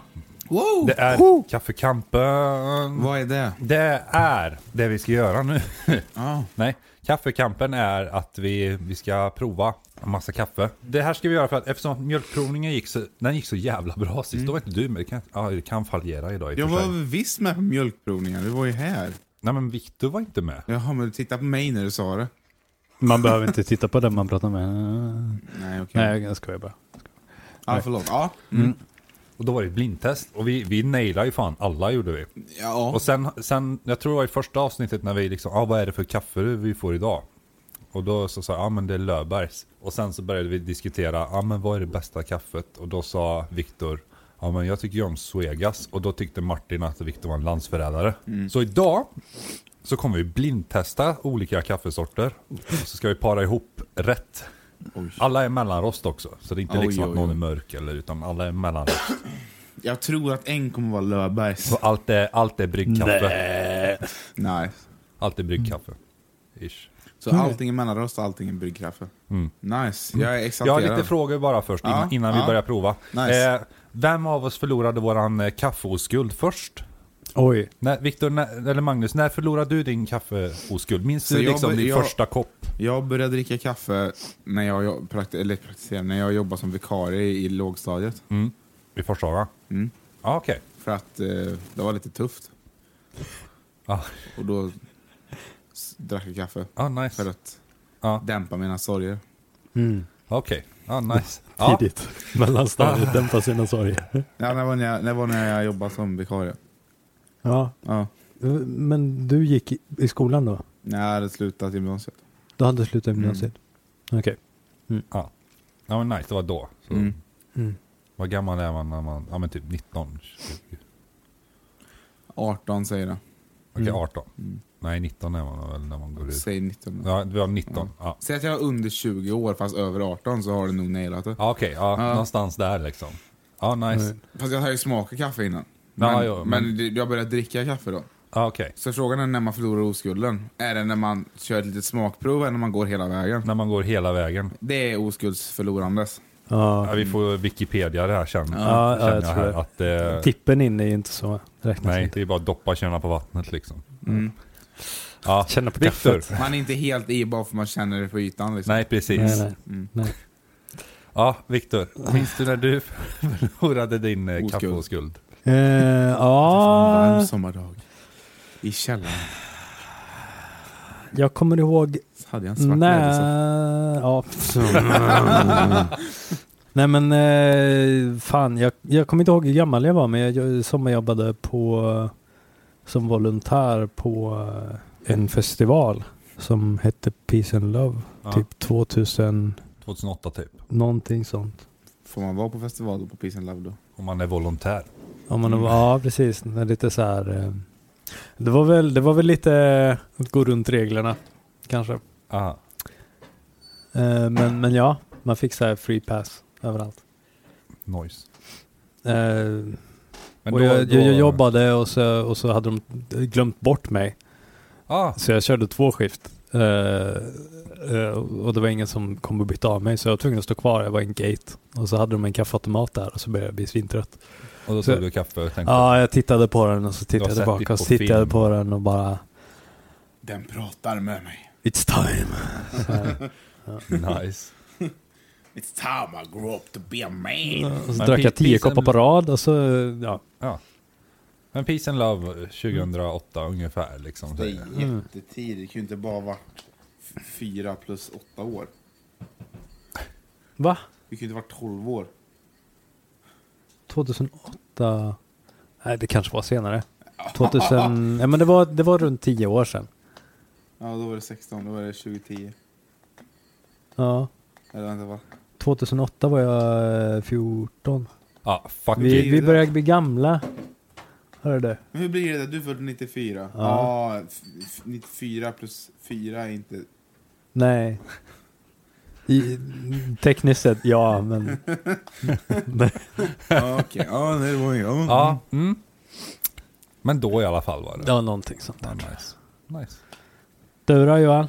Speaker 2: Wow!
Speaker 1: det är kaffekampen.
Speaker 2: Vad är det?
Speaker 1: Det är det vi ska göra nu.
Speaker 2: *laughs* Ja.
Speaker 1: Nej, kaffekampen är att vi, vi ska prova en massa kaffe. Det här ska vi göra för att eftersom att mjölkprovningen gick så, den gick så jävla bra sist. Då var inte du med. Det kan, ja, det kan fallera idag i och
Speaker 2: Mm. Jag
Speaker 1: för sig.
Speaker 2: var visst med på mjölkprovningen. Du var ju här.
Speaker 1: Nej men Viktor var inte med.
Speaker 2: Jaha, men du tittade på mig när du sa det.
Speaker 3: Man behöver inte titta på den man pratar med.
Speaker 2: Nej, okej.
Speaker 3: Nej, jag skojar bara.
Speaker 2: Ja, förlåt. Ja.
Speaker 1: Och då var det ett blindtest. Och vi, vi nailade ju fan alla gjorde vi.
Speaker 2: ja.
Speaker 1: Och sen, sen, jag tror det var i första avsnittet när vi liksom, ah, vad är det för kaffe vi får idag? Och då så sa jag, ah, men det är Löfbergs. Och sen så började vi diskutera, ah, men vad är det bästa kaffet? Och då sa Viktor, ja ah, men jag tycker ju om Suegas. Och då tyckte Martin att Viktor var en landsförrädare.
Speaker 2: Mm.
Speaker 1: Så idag så kommer vi blindtesta olika kaffesorter. Och så ska vi para ihop rätt. Alla är mellanrost också. Så det är inte
Speaker 2: Oj,
Speaker 1: liksom
Speaker 2: oj,
Speaker 1: att någon
Speaker 2: oj.
Speaker 1: är mörk eller utan alla är mellanrost.
Speaker 2: Jag tror att en kommer vara Löfbergs.
Speaker 1: Så allt är, allt är bryggkaffe.
Speaker 2: Nice.
Speaker 1: Allt är bryggkaffe. Ish. Mm.
Speaker 2: Så allting är mellanrost och allting är bryggkaffe. Nice. Jag är
Speaker 1: Jag har
Speaker 2: exalterad.
Speaker 1: lite frågor bara först innan,
Speaker 2: Ja,
Speaker 1: innan vi
Speaker 2: ja.
Speaker 1: börjar prova.
Speaker 2: Nice.
Speaker 1: Eh, vem av oss förlorade våran eh, kaffeoskuld först?
Speaker 3: Oj.
Speaker 1: När, Victor, när, eller Magnus, när förlorade du din kaffeoskuld? Minns
Speaker 2: Så
Speaker 1: du
Speaker 2: jag
Speaker 1: liksom
Speaker 2: bör-
Speaker 1: din
Speaker 2: jag-
Speaker 1: första kopp?
Speaker 2: Jag började dricka kaffe när jag, jo- prakti- eller praktiserade, när jag jobbade som vikarie i lågstadiet.
Speaker 1: I första va?
Speaker 2: Mm.
Speaker 1: Ja, okej.
Speaker 2: För att eh, det var lite tufft.
Speaker 1: Ja,
Speaker 2: Och då s- drack jag kaffe.
Speaker 1: ah,
Speaker 2: För
Speaker 1: nice.
Speaker 2: att
Speaker 1: Ja.
Speaker 2: dämpa mina sorger.
Speaker 3: Mm.
Speaker 1: Okej. Ja, nice. Ja.
Speaker 3: *laughs* Tidigt. Ah. Mellanstadiet dämpar sina sorger.
Speaker 2: Ja, det var när jag, det var när jag jobbade som vikarie.
Speaker 3: Ja,
Speaker 2: Ja.
Speaker 3: men du gick i- i skolan då?
Speaker 2: När jag hade slutat gymnasiet.
Speaker 3: Du hade slutat gymnasiet? Okej.
Speaker 1: Ja. ja, men nice. Det var då. Så.
Speaker 2: Mm.
Speaker 3: Mm.
Speaker 1: Vad gammal är man när man, ja men typ 19, 20. Okej,
Speaker 2: 18 säger det.
Speaker 3: Mm.
Speaker 1: 18. Nej, 19 är man väl när man går ut.
Speaker 2: Säg 19.
Speaker 1: Ja, det var 19. Ja.
Speaker 2: Säg att jag är under 20 år fast över 18 så har du nog nailat det.
Speaker 1: Ja, okej. Ja,
Speaker 2: Ja.
Speaker 1: Någonstans där liksom. Ja,
Speaker 3: Mm.
Speaker 1: nice.
Speaker 2: Fast jag har ju smakat kaffe innan.
Speaker 1: Ja,
Speaker 2: Men,
Speaker 1: jo, men-
Speaker 2: men... det- jag började dricka kaffe då.
Speaker 1: Ja, okej.
Speaker 2: Så frågan är när man förlorar oskulden. Är det när man kör ett litet smakprov eller när man går hela vägen?
Speaker 1: När man går hela vägen.
Speaker 2: Det är oskuldsförlorandes.
Speaker 1: Ja,
Speaker 3: Ja.
Speaker 1: vi får Wikipedia det här sen.
Speaker 3: Ja,
Speaker 1: känner
Speaker 3: ja, jag
Speaker 1: jag
Speaker 3: tror
Speaker 1: här
Speaker 3: det.
Speaker 1: att eh,
Speaker 3: Tippen inne är ju inte så. Räknas
Speaker 1: Nej,
Speaker 3: inte.
Speaker 1: det är bara att doppa kärnan på vattnet liksom.
Speaker 2: Mm.
Speaker 1: Ja.
Speaker 3: Känna på
Speaker 1: Viktor.
Speaker 3: kaffet.
Speaker 2: Man är inte helt i bara för man känner det på ytan liksom.
Speaker 1: Nej, precis.
Speaker 3: Nej, nej.
Speaker 2: Mm.
Speaker 3: nej.
Speaker 1: Ja, Viktor. Minns du när du *laughs* förlorade din eh,
Speaker 2: Oskuld.
Speaker 1: kaffeoskuld?
Speaker 3: Eh,
Speaker 2: Det var en varm
Speaker 3: ja,
Speaker 2: sommardag. I källaren.
Speaker 3: Jag kommer ihåg
Speaker 2: Hade jag en svart ledelse?
Speaker 3: när... Ja. *laughs* Nej men eh, fan, jag, jag kommer inte ihåg hur gammal jag var men jag, jag sommarjobbade på som volontär på eh, en festival som hette Peace and Love.
Speaker 1: Ja,
Speaker 3: Typ 2000
Speaker 1: 2008 typ.
Speaker 3: någonting sånt.
Speaker 2: Får man vara på festival då på Peace and Love då?
Speaker 1: Om man är volontär.
Speaker 3: Om man, Ja precis, när lite så här. eh, Det var väl, det var väl lite eh, att gå runt reglerna kanske.
Speaker 1: Aha.
Speaker 3: Eh, men, men ja, man fick så här free pass överallt.
Speaker 1: Nice.
Speaker 3: Eh,
Speaker 1: Men
Speaker 3: och
Speaker 1: då-
Speaker 3: jag,
Speaker 1: då-
Speaker 3: jag, jag jobbade och så, och så hade de glömt bort mig.
Speaker 1: Ah,
Speaker 3: Så jag körde två skift. Eh, eh, och det var ingen som kom och bytte av mig så jag var tvungen att stå kvar. Jag var i en gate. Och så hade de en kaffeautomat där och så började jag bli svintrött.
Speaker 1: och då
Speaker 3: Så-
Speaker 1: tog du kaffe och tänkte
Speaker 3: Ja, jag tittade på den och så
Speaker 1: Du har
Speaker 3: tittade jag
Speaker 1: sett
Speaker 3: tillbaka
Speaker 1: det
Speaker 3: och
Speaker 1: på
Speaker 3: så tittade jag
Speaker 1: film.
Speaker 3: på den och bara
Speaker 2: Den pratar med mig.
Speaker 3: It's time. Så här.
Speaker 1: nice.
Speaker 2: It's time I grow up to be a man.
Speaker 3: Och så
Speaker 1: Men
Speaker 3: drack jag
Speaker 1: Pete Peace
Speaker 3: tio koppar
Speaker 1: and-
Speaker 3: på rad och så, ja.
Speaker 1: Ja. Men Peace and Love 2008 ungefär liksom.
Speaker 2: Det
Speaker 1: säger
Speaker 2: är
Speaker 1: jag.
Speaker 2: jättetidigt. Det kan ju inte bara ha varit f- fyra plus åtta år.
Speaker 3: Va?
Speaker 2: Det kan ju inte ha varit tolv år.
Speaker 3: 2008? Nej, det kanske var senare. 2000, ja men det var, det var runt 10 år sedan.
Speaker 2: Ja, då var det 16. Då var det 2010.
Speaker 3: Ja,
Speaker 2: Eller vänta, va?
Speaker 3: 2008 var jag eh, 14.
Speaker 1: Ja, fuck
Speaker 3: Vi,
Speaker 1: it.
Speaker 3: vi börjar bli gamla. Hör du?
Speaker 2: Men hur blir det? där? Du är född 94. Ja.
Speaker 3: Ja.
Speaker 2: 94 plus 4 är inte...
Speaker 3: Nej. I, tekniskt sett, ja men.
Speaker 2: *laughs* Ja, okej. Ja, det var ju... Ja.
Speaker 1: Ja, mm. Men då i alla fall var det.
Speaker 3: *laughs* Det var någonting sånt
Speaker 1: Ja,
Speaker 3: där.
Speaker 1: nice. nice.
Speaker 3: Du då Johan?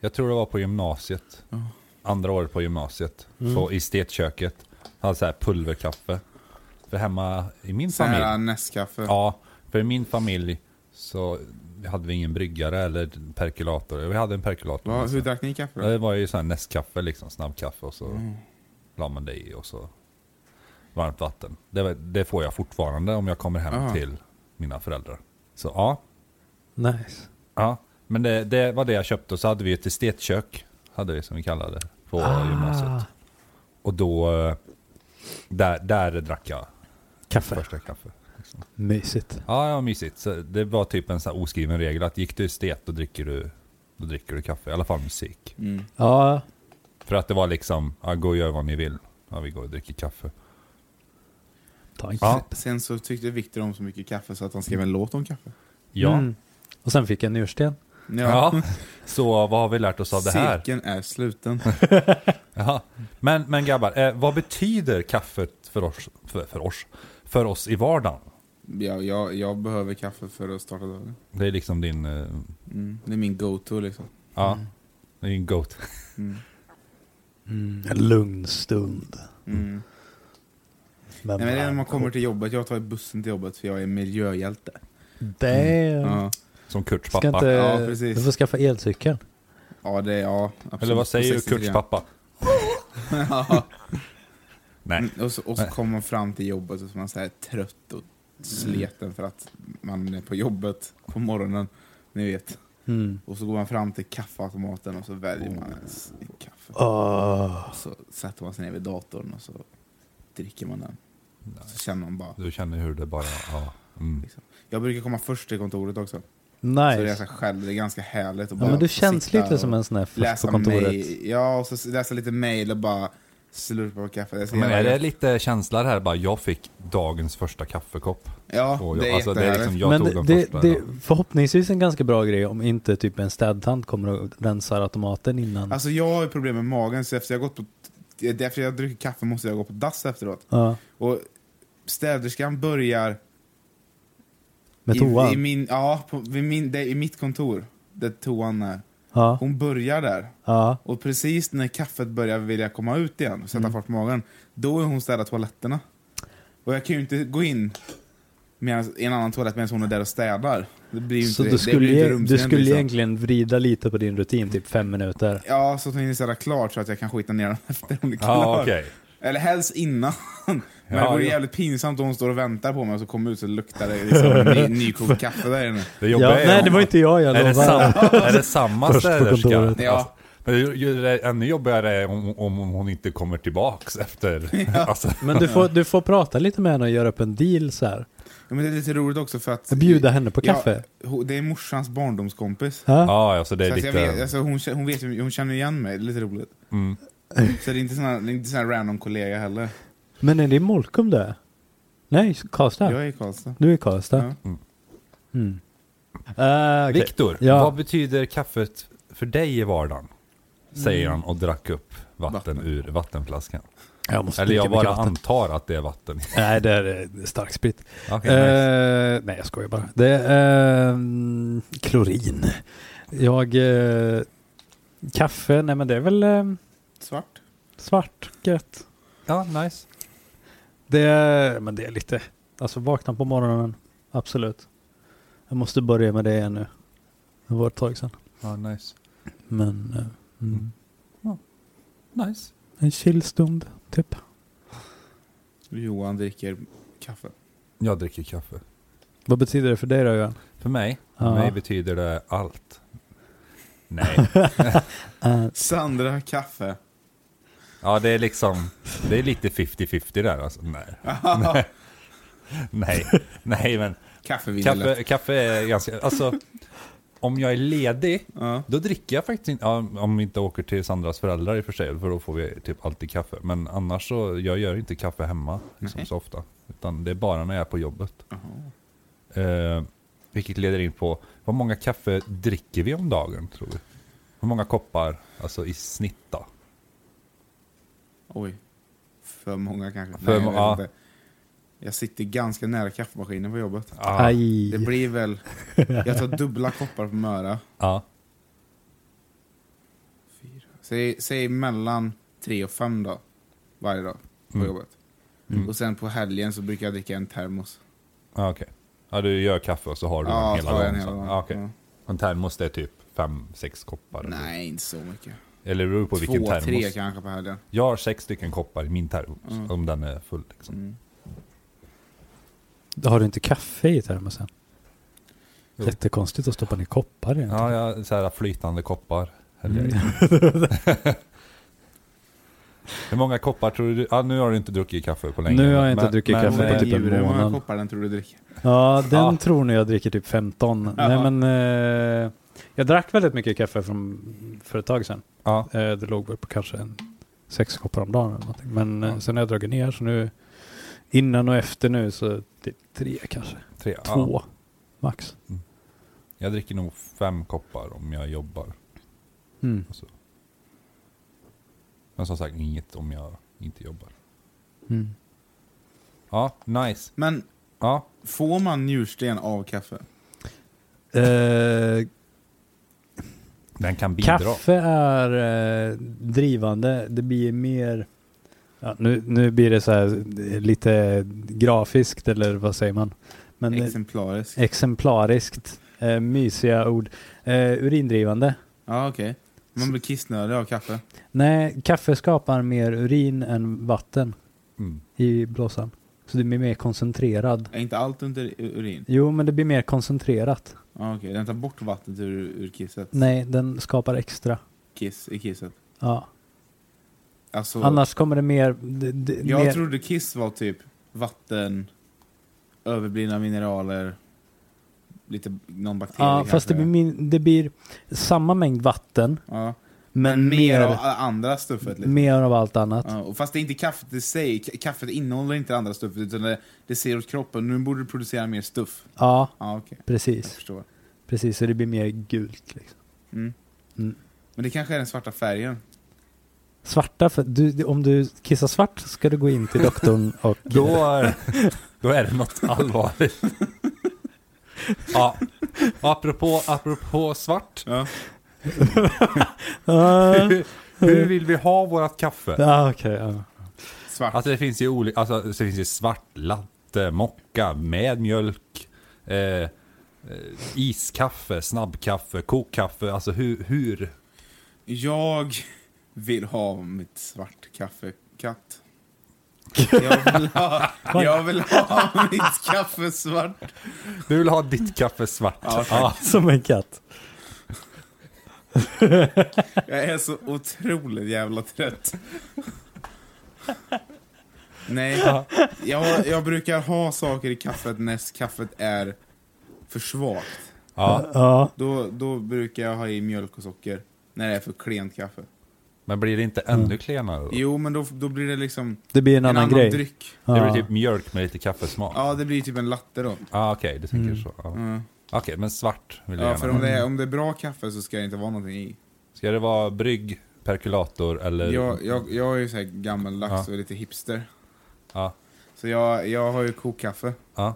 Speaker 1: Jag tror det var på gymnasiet. Andra året på gymnasiet.
Speaker 3: Mm.
Speaker 1: På estetköket. Hade så här pulverkaffe. För hemma i min
Speaker 2: Så
Speaker 1: familj.
Speaker 2: här alltså. Nescafe.
Speaker 1: Ja, för i min familj så hade vi ingen bryggare eller perkulator. Vi hade en perkulator.
Speaker 2: Va,
Speaker 1: men
Speaker 2: hur
Speaker 1: sen-
Speaker 2: drack ni kaffe
Speaker 1: Ja,
Speaker 2: då?
Speaker 1: det var ju så här nästkaffe liksom, snabbkaffe och så
Speaker 2: Mm.
Speaker 1: la man det i och så varmt vatten. Det, var- det får jag fortfarande om jag kommer hem
Speaker 2: Aha.
Speaker 1: till mina föräldrar. Så ja,
Speaker 3: Nice.
Speaker 1: Ja, men det, det var det jag köpte och så hade vi ett estetkök, hade vi som vi kallade det, på
Speaker 3: Ah.
Speaker 1: gymnasiet. Och då, eh, där, där drack jag
Speaker 3: Kaffe.
Speaker 1: första kaffe. Liksom.
Speaker 3: Mysigt.
Speaker 1: Ja, ja, mysigt. Så det var typ en sån här oskriven regel att gick du estet då dricker du, då dricker du kaffe, i alla fall musik.
Speaker 2: Mm.
Speaker 3: Ja,
Speaker 1: För att det var liksom, ja, gå och gör vad ni vill. Ja, vi går och dricker kaffe.
Speaker 3: ta en
Speaker 1: Ja.
Speaker 2: Sen så tyckte Viktor om så mycket kaffe så att han skrev en låt om kaffe.
Speaker 1: Ja.
Speaker 3: Mm. Och sen fick jag en njursten.
Speaker 1: ja. Så vad har vi lärt oss av det här?
Speaker 2: Cirkeln
Speaker 1: *laughs*
Speaker 2: är sluten.
Speaker 1: Jaha. Men, men grabbar, eh, vad betyder kaffet för oss, för, för oss, för oss i vardagen?
Speaker 2: jag, jag, jag behöver kaffe för att starta dagen.
Speaker 1: Det är liksom din... eh,
Speaker 2: Mm. Det är min go-to liksom.
Speaker 1: Ja, det är ju en goat. *laughs*
Speaker 2: Mm.
Speaker 3: Mm. En lugn stund.
Speaker 2: Mm. Nej, men det är när man kommer till jobbet. Jag tar bussen till jobbet för jag är miljöhjälte.
Speaker 3: Damn.
Speaker 2: Ja,
Speaker 1: Som Kurts
Speaker 3: Ska
Speaker 1: pappa.
Speaker 3: inte...
Speaker 2: Ja, precis.
Speaker 3: du får skaffa elcykel.
Speaker 2: ja det är... Ja, absolut.
Speaker 1: Eller vad säger
Speaker 2: På 63.
Speaker 1: Kurts pappa?
Speaker 2: *laughs* Ja.
Speaker 1: Nej.
Speaker 2: Mm, Och så, och så kommer man fram till jobbet och så är man så här trött och sleten för att man är på jobbet på morgonen. Ni vet.
Speaker 3: Mm.
Speaker 2: Och så går man fram till kaffeautomaten och så väljer man en s- en kaffe.
Speaker 3: Åh.
Speaker 2: Och så sätter man sig ner vid datorn och så dricker man den. Så känner man bara...
Speaker 1: Du känner hur det bara... Ja. Mm.
Speaker 2: Liksom. Jag brukar komma först till kontoret också. Så det är, så
Speaker 3: Nice.
Speaker 2: här själv, det är ganska härligt att
Speaker 3: Ja,
Speaker 2: bara
Speaker 3: men du känns
Speaker 2: sitta
Speaker 3: lite som
Speaker 2: och
Speaker 3: en sån här fast på
Speaker 2: läsa
Speaker 3: kontoret.
Speaker 2: mail. Ja, och så läsa lite mail och bara slurpa på kaffe. Det är så
Speaker 1: Men
Speaker 2: jävla
Speaker 1: är det
Speaker 2: gött.
Speaker 1: lite känsla det här bara, jag fick dagens första kaffekopp.
Speaker 2: Ja,
Speaker 1: Och jag,
Speaker 2: det är
Speaker 1: alltså, det är
Speaker 2: jättehärligt.
Speaker 1: liksom, jag
Speaker 3: men
Speaker 1: tog den
Speaker 3: det,
Speaker 1: första.
Speaker 3: det
Speaker 1: idag.
Speaker 3: förhoppningsvis en ganska bra grej om inte typ en städtant kommer och rensar automaten innan.
Speaker 2: Alltså jag har ju problem med magen så efter jag gått på... Därför jag dricker kaffe måste jag gå på dass efteråt.
Speaker 3: ja,
Speaker 2: Och städerskan börjar...
Speaker 3: med
Speaker 2: i,
Speaker 3: toan.
Speaker 2: i, min, ja, på, vid min, det, är i mitt kontor. Där toan är.
Speaker 3: ja,
Speaker 2: Hon börjar där.
Speaker 3: ja.
Speaker 2: Och precis när kaffet börjar vilja komma ut igen och sätta
Speaker 3: Mm.
Speaker 2: fart på magen, då är hon städat toaletterna. Och jag kan ju inte gå in medans, i en annan toalett medan hon är där och städar. Det blir ju inte,
Speaker 3: Så
Speaker 2: det,
Speaker 3: du
Speaker 2: det
Speaker 3: skulle,
Speaker 2: blir ju inte
Speaker 3: ju- du
Speaker 2: rumsrent,
Speaker 3: skulle
Speaker 2: liksom.
Speaker 3: egentligen vrida lite på din rutin, typ fem minuter.
Speaker 2: Ja, *laughs* så att hon hinner städa klart så att jag kan skita ner den efter hon är klar.
Speaker 1: Ja, okej.
Speaker 2: Eller helst innan. *laughs* Men det
Speaker 1: Ja,
Speaker 2: vore
Speaker 1: ja.
Speaker 2: jävligt pinsamt om hon står och väntar på mig och så kommer jag ut så luktar det liksom ny,
Speaker 1: *laughs*
Speaker 2: nykokt kaffe där inne.
Speaker 1: Det
Speaker 3: Ja,
Speaker 1: jobbiga är
Speaker 3: nej,
Speaker 1: om-
Speaker 3: det var inte jag, jag
Speaker 1: Är det,
Speaker 3: lovar.
Speaker 1: samma, är det samma
Speaker 5: Först på
Speaker 1: städerska?
Speaker 5: kontoret.
Speaker 2: Ja.
Speaker 1: Alltså, men det är ju- det är ännu jobbigare är om, om hon inte kommer tillbaks efter. Alltså,
Speaker 3: Men du får, du får prata lite med henne och göra upp en deal så här.
Speaker 2: Ja, men det är lite roligt också för att...
Speaker 3: Bjuda henne på kaffe.
Speaker 2: Ja, ho- det är morsans barndomskompis.
Speaker 3: Ja.
Speaker 1: ja, alltså det
Speaker 2: så
Speaker 1: är
Speaker 2: att
Speaker 1: lite...
Speaker 2: jag vet, alltså hon, kä- hon, vet, ju- hon känner igen mig, det är lite roligt.
Speaker 1: Mm.
Speaker 2: Så det är inte såna, det är inte såna random kollega heller.
Speaker 3: Men är det Molkom det? Nej, Karlstad.
Speaker 2: Jag är i Karlstad.
Speaker 3: Du är i Karlstad.
Speaker 2: Ja.
Speaker 3: Mm. Eh, okej.
Speaker 1: Viktor,
Speaker 3: Ja.
Speaker 1: vad betyder kaffet för dig i vardagen? Säger
Speaker 3: Mm.
Speaker 1: han och drack upp vatten,
Speaker 2: Vatten.
Speaker 1: ur vattenflaskan.
Speaker 3: Jag måste
Speaker 1: Eller jag
Speaker 3: dricka mycket
Speaker 1: bara
Speaker 3: vatten.
Speaker 1: antar att det är
Speaker 3: *laughs*
Speaker 1: vatten.
Speaker 3: Nej, det är, det är stark sprit.
Speaker 1: Okej, nice.
Speaker 3: Eh, nej, jag skojar bara. Det är ehm, klorin. Jag... eh, kaffe, nej men det är väl eh,
Speaker 2: Svart.
Speaker 3: svart gött.
Speaker 1: Ja, nice.
Speaker 3: Det är, men det är lite... Alltså vakna på morgonen, absolut. Jag måste börja med det igen nu. Det var ett tag sedan.
Speaker 1: Ja, nice.
Speaker 3: Men... eh, mm.
Speaker 1: Nice.
Speaker 3: En chillstund, typ.
Speaker 2: Johan dricker kaffe.
Speaker 1: Jag dricker kaffe.
Speaker 3: Vad betyder det för dig då Johan?
Speaker 1: För mig,
Speaker 3: Ja.
Speaker 1: för mig betyder det allt. Nej,
Speaker 2: Sandra kaffe. *laughs*
Speaker 1: ja det är liksom, det är lite 50-50 där alltså. Nej. Nej.
Speaker 3: *laughs*
Speaker 1: Nej, nej men
Speaker 2: Kaffevindel.
Speaker 1: kaffe, kaffe är ganska, alltså om jag är ledig
Speaker 2: Ja.
Speaker 1: Då dricker jag faktiskt inte, ja, om vi inte åker till Sandras föräldrar i och för sig, för då får vi typ alltid kaffe. Men annars så, jag gör inte kaffe hemma liksom,
Speaker 2: Nej.
Speaker 1: så ofta. Utan det är bara när jag är på jobbet.
Speaker 2: Jaha.
Speaker 1: Eh, vilket leder in på, vad många kaffe dricker vi om dagen tror vi? Hur många koppar, alltså i snitt då?
Speaker 2: Oj. För många kanske.
Speaker 1: För
Speaker 2: Nej, jag,
Speaker 1: må-
Speaker 2: vet
Speaker 1: ja.
Speaker 2: inte. jag sitter ganska nära kaffemaskinen på jobbet.
Speaker 1: Ah,
Speaker 3: Aj.
Speaker 2: Det blir väl... Jag tar dubbla koppar på Möra.
Speaker 1: ja,
Speaker 2: Säg, säg mellan tre och fem då. Varje dag på
Speaker 1: Mm.
Speaker 2: jobbet.
Speaker 1: Mm.
Speaker 2: Och sen på helgen så brukar jag dricka en termos.
Speaker 1: ah, okej. Ja, du gör kaffe och så har du
Speaker 2: Ja,
Speaker 1: den
Speaker 2: så har
Speaker 1: hela dagen.
Speaker 2: jag en hela
Speaker 1: så.
Speaker 2: dagen.
Speaker 1: Ah, okej.
Speaker 2: Ja.
Speaker 1: En termos det är typ fem, sex koppar? eller?
Speaker 2: Nej, inte så mycket.
Speaker 1: Eller det beror på vilken
Speaker 2: Två, tre
Speaker 1: termos.
Speaker 2: kanske på helgen.
Speaker 1: Jag har sex stycken koppar i min termos,
Speaker 2: Mm.
Speaker 1: om den är full liksom.
Speaker 2: Mm.
Speaker 3: Har du inte kaffe i termosen?
Speaker 1: Jo.
Speaker 3: Jättekonstigt att stoppa ner koppar i den.
Speaker 1: Ja, ja så här flytande koppar. häller
Speaker 3: Mm.
Speaker 1: jag i.
Speaker 3: *laughs*
Speaker 1: Hur många koppar tror du? Ja, nu har du inte druckit kaffe på länge. eh,
Speaker 3: Nu har jag inte druckit kaffe
Speaker 2: Men
Speaker 3: på typ en
Speaker 2: djur, hur många
Speaker 3: månad.
Speaker 2: koppar den tror du dricker?
Speaker 3: Ja, den
Speaker 1: Ja.
Speaker 3: tror nog jag dricker typ 15. Nej
Speaker 2: Ja.
Speaker 3: men, eh, jag drack väldigt mycket kaffe från, för ett tag sedan.
Speaker 1: Ja,
Speaker 3: Eh, det låg väl på kanske en, sex koppar om dagen eller någonting. Men eh,
Speaker 1: Ja.
Speaker 3: sen har jag dragit ner så nu, innan och efter nu så typ tre kanske.
Speaker 1: tre. Ja,
Speaker 3: Två max.
Speaker 1: jag dricker nog fem koppar om jag jobbar.
Speaker 3: Mm.
Speaker 1: Men som sagt, inget om jag inte jobbar.
Speaker 3: Mm.
Speaker 1: Ja, nice.
Speaker 2: Men
Speaker 1: Ja,
Speaker 2: får man njursten av kaffe?
Speaker 3: Eh,
Speaker 1: den kan bidra.
Speaker 3: Kaffe är eh, drivande. Det blir mer... Ja, nu, nu blir det så här eh, lite grafiskt eller vad säger man? Men eh,
Speaker 2: Exemplariskt.
Speaker 3: exemplariskt. Eh, mysiga ord. Eh, urindrivande.
Speaker 2: Ja, okej. Man blir kissnödig av kaffe.
Speaker 3: Nej, kaffe skapar mer urin än vatten
Speaker 1: Mm.
Speaker 3: i blåsan. Så det blir mer koncentrerad.
Speaker 2: Är inte allt under u- urin?
Speaker 3: Jo, men det blir mer koncentrerat.
Speaker 2: Ja, okej. Den tar bort vattnet ur, ur kisset?
Speaker 3: Nej, den skapar extra.
Speaker 2: Kiss i kisset.
Speaker 3: Ja.
Speaker 2: Alltså,
Speaker 3: Annars kommer det mer... d- d-
Speaker 2: jag
Speaker 3: mer
Speaker 2: trodde kiss var typ vatten, överblivna mineraler, lite någon bakterie
Speaker 3: ja,
Speaker 2: kanske.
Speaker 3: fast det blir, min, det blir samma mängd vatten
Speaker 2: ja.
Speaker 3: Men,
Speaker 2: Men mer,
Speaker 3: mer,
Speaker 2: av a- andra stuffet. Liksom.
Speaker 3: mer av allt annat.
Speaker 2: Ja, och fast det är inte kaffet i sig, K- kaffet innehåller inte det andra stuffet utan det, det ser åt kroppen, nu borde du producera mer stuff.
Speaker 3: Ja,
Speaker 2: Ja, okej. Jag
Speaker 3: precis.
Speaker 2: förstår.
Speaker 3: Precis, så det blir mer gult. Liksom.
Speaker 2: Mm.
Speaker 3: Mm.
Speaker 2: Men det kanske är den svarta färgen.
Speaker 3: Svarta, för du, om du kissar svart ska du gå in
Speaker 1: *laughs*
Speaker 3: till doktorn och...
Speaker 1: Då, då är det något allvarligt. Ja, apropå, apropå svart.
Speaker 2: Ja.
Speaker 3: Ah,
Speaker 1: Hur, hur vill vi ha vårat kaffe?
Speaker 3: ah, okej. ja.
Speaker 2: Svart.
Speaker 1: Alltså det finns ju olika, alltså det finns ju svart latte, mocka med mjölk, eh, eh, iskaffe, snabbkaffe, kokkaffe, alltså hur, hur?
Speaker 3: *laughs*
Speaker 2: Jag vill ha mitt svart kaffekatt. Jag vill ha, jag vill ha mitt kaffe svart.
Speaker 1: Du vill ha ditt kaffe svart.
Speaker 3: Ja, som en katt.
Speaker 2: Jag är så otroligt jävla trött. Nej, jag, jag brukar ha saker i kaffet när kaffet är för svagt.
Speaker 1: Ja.
Speaker 3: Ja.
Speaker 2: Då, då brukar jag ha i mjölk och socker. När det är för klent kaffe.
Speaker 1: Men blir det inte ännu klenare då?
Speaker 2: Jo, men då, då blir det liksom
Speaker 3: Det blir en,
Speaker 2: en
Speaker 3: annan,
Speaker 2: annan
Speaker 3: grej.
Speaker 2: dryck.
Speaker 1: Det blir
Speaker 3: Ja.
Speaker 1: typ mjölk med lite kaffesmak. Ja,
Speaker 2: Ja, det blir typ en latte då.
Speaker 1: ah, okej, du tänker så. Ja.
Speaker 2: Mm.
Speaker 1: Okej, men svart vill jag
Speaker 2: Ja,
Speaker 1: gärna
Speaker 2: för
Speaker 1: ha.
Speaker 2: om
Speaker 3: Mm.
Speaker 2: det, är, om det är bra kaffe så ska det inte vara någonting i.
Speaker 1: Ska det vara brygg, perkulator eller?
Speaker 2: Jag, jag, jag är ju såhär gammaldags
Speaker 1: Ja.
Speaker 2: och lite hipster.
Speaker 1: Ja,
Speaker 2: Så jag, jag har ju kokkaffe.
Speaker 1: ja,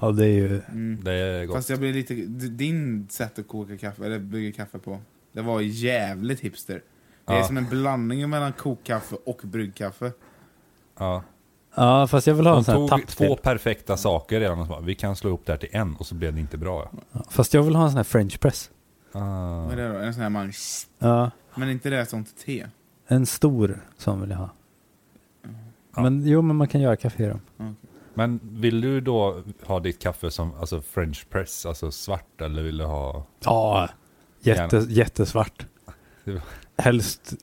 Speaker 3: Ja, det är ju...
Speaker 2: Mm.
Speaker 1: det är gott.
Speaker 2: Fast jag blir lite... d- Din sätt att koka kaffe, eller bygga kaffe på, det var jävligt hipster. Det är
Speaker 1: Ja.
Speaker 2: som en blandning mellan kokkaffe och bryggkaffe.
Speaker 1: Ja.
Speaker 3: Ja, fast jag vill ha en
Speaker 1: De
Speaker 3: sån här
Speaker 1: tog två
Speaker 3: typ. tappfilm.
Speaker 1: perfekta saker redan och så bara, vi kan slå ihop det här till en och så blev det inte bra. Ja.
Speaker 3: Fast jag vill ha en sån här french press.
Speaker 1: Ah.
Speaker 2: Vad är det då? En sån här man...
Speaker 3: Ja,
Speaker 2: Men inte det sånt te.
Speaker 3: en stor sån vill jag ha.
Speaker 1: Ja.
Speaker 3: Men jo, men man kan göra kaffe i dem.
Speaker 1: Men vill du då ha ditt kaffe som alltså french press, alltså svart eller vill du ha?
Speaker 3: Ja, jätte,
Speaker 1: Gärna.
Speaker 3: jättesvart.
Speaker 1: Det-
Speaker 3: Helst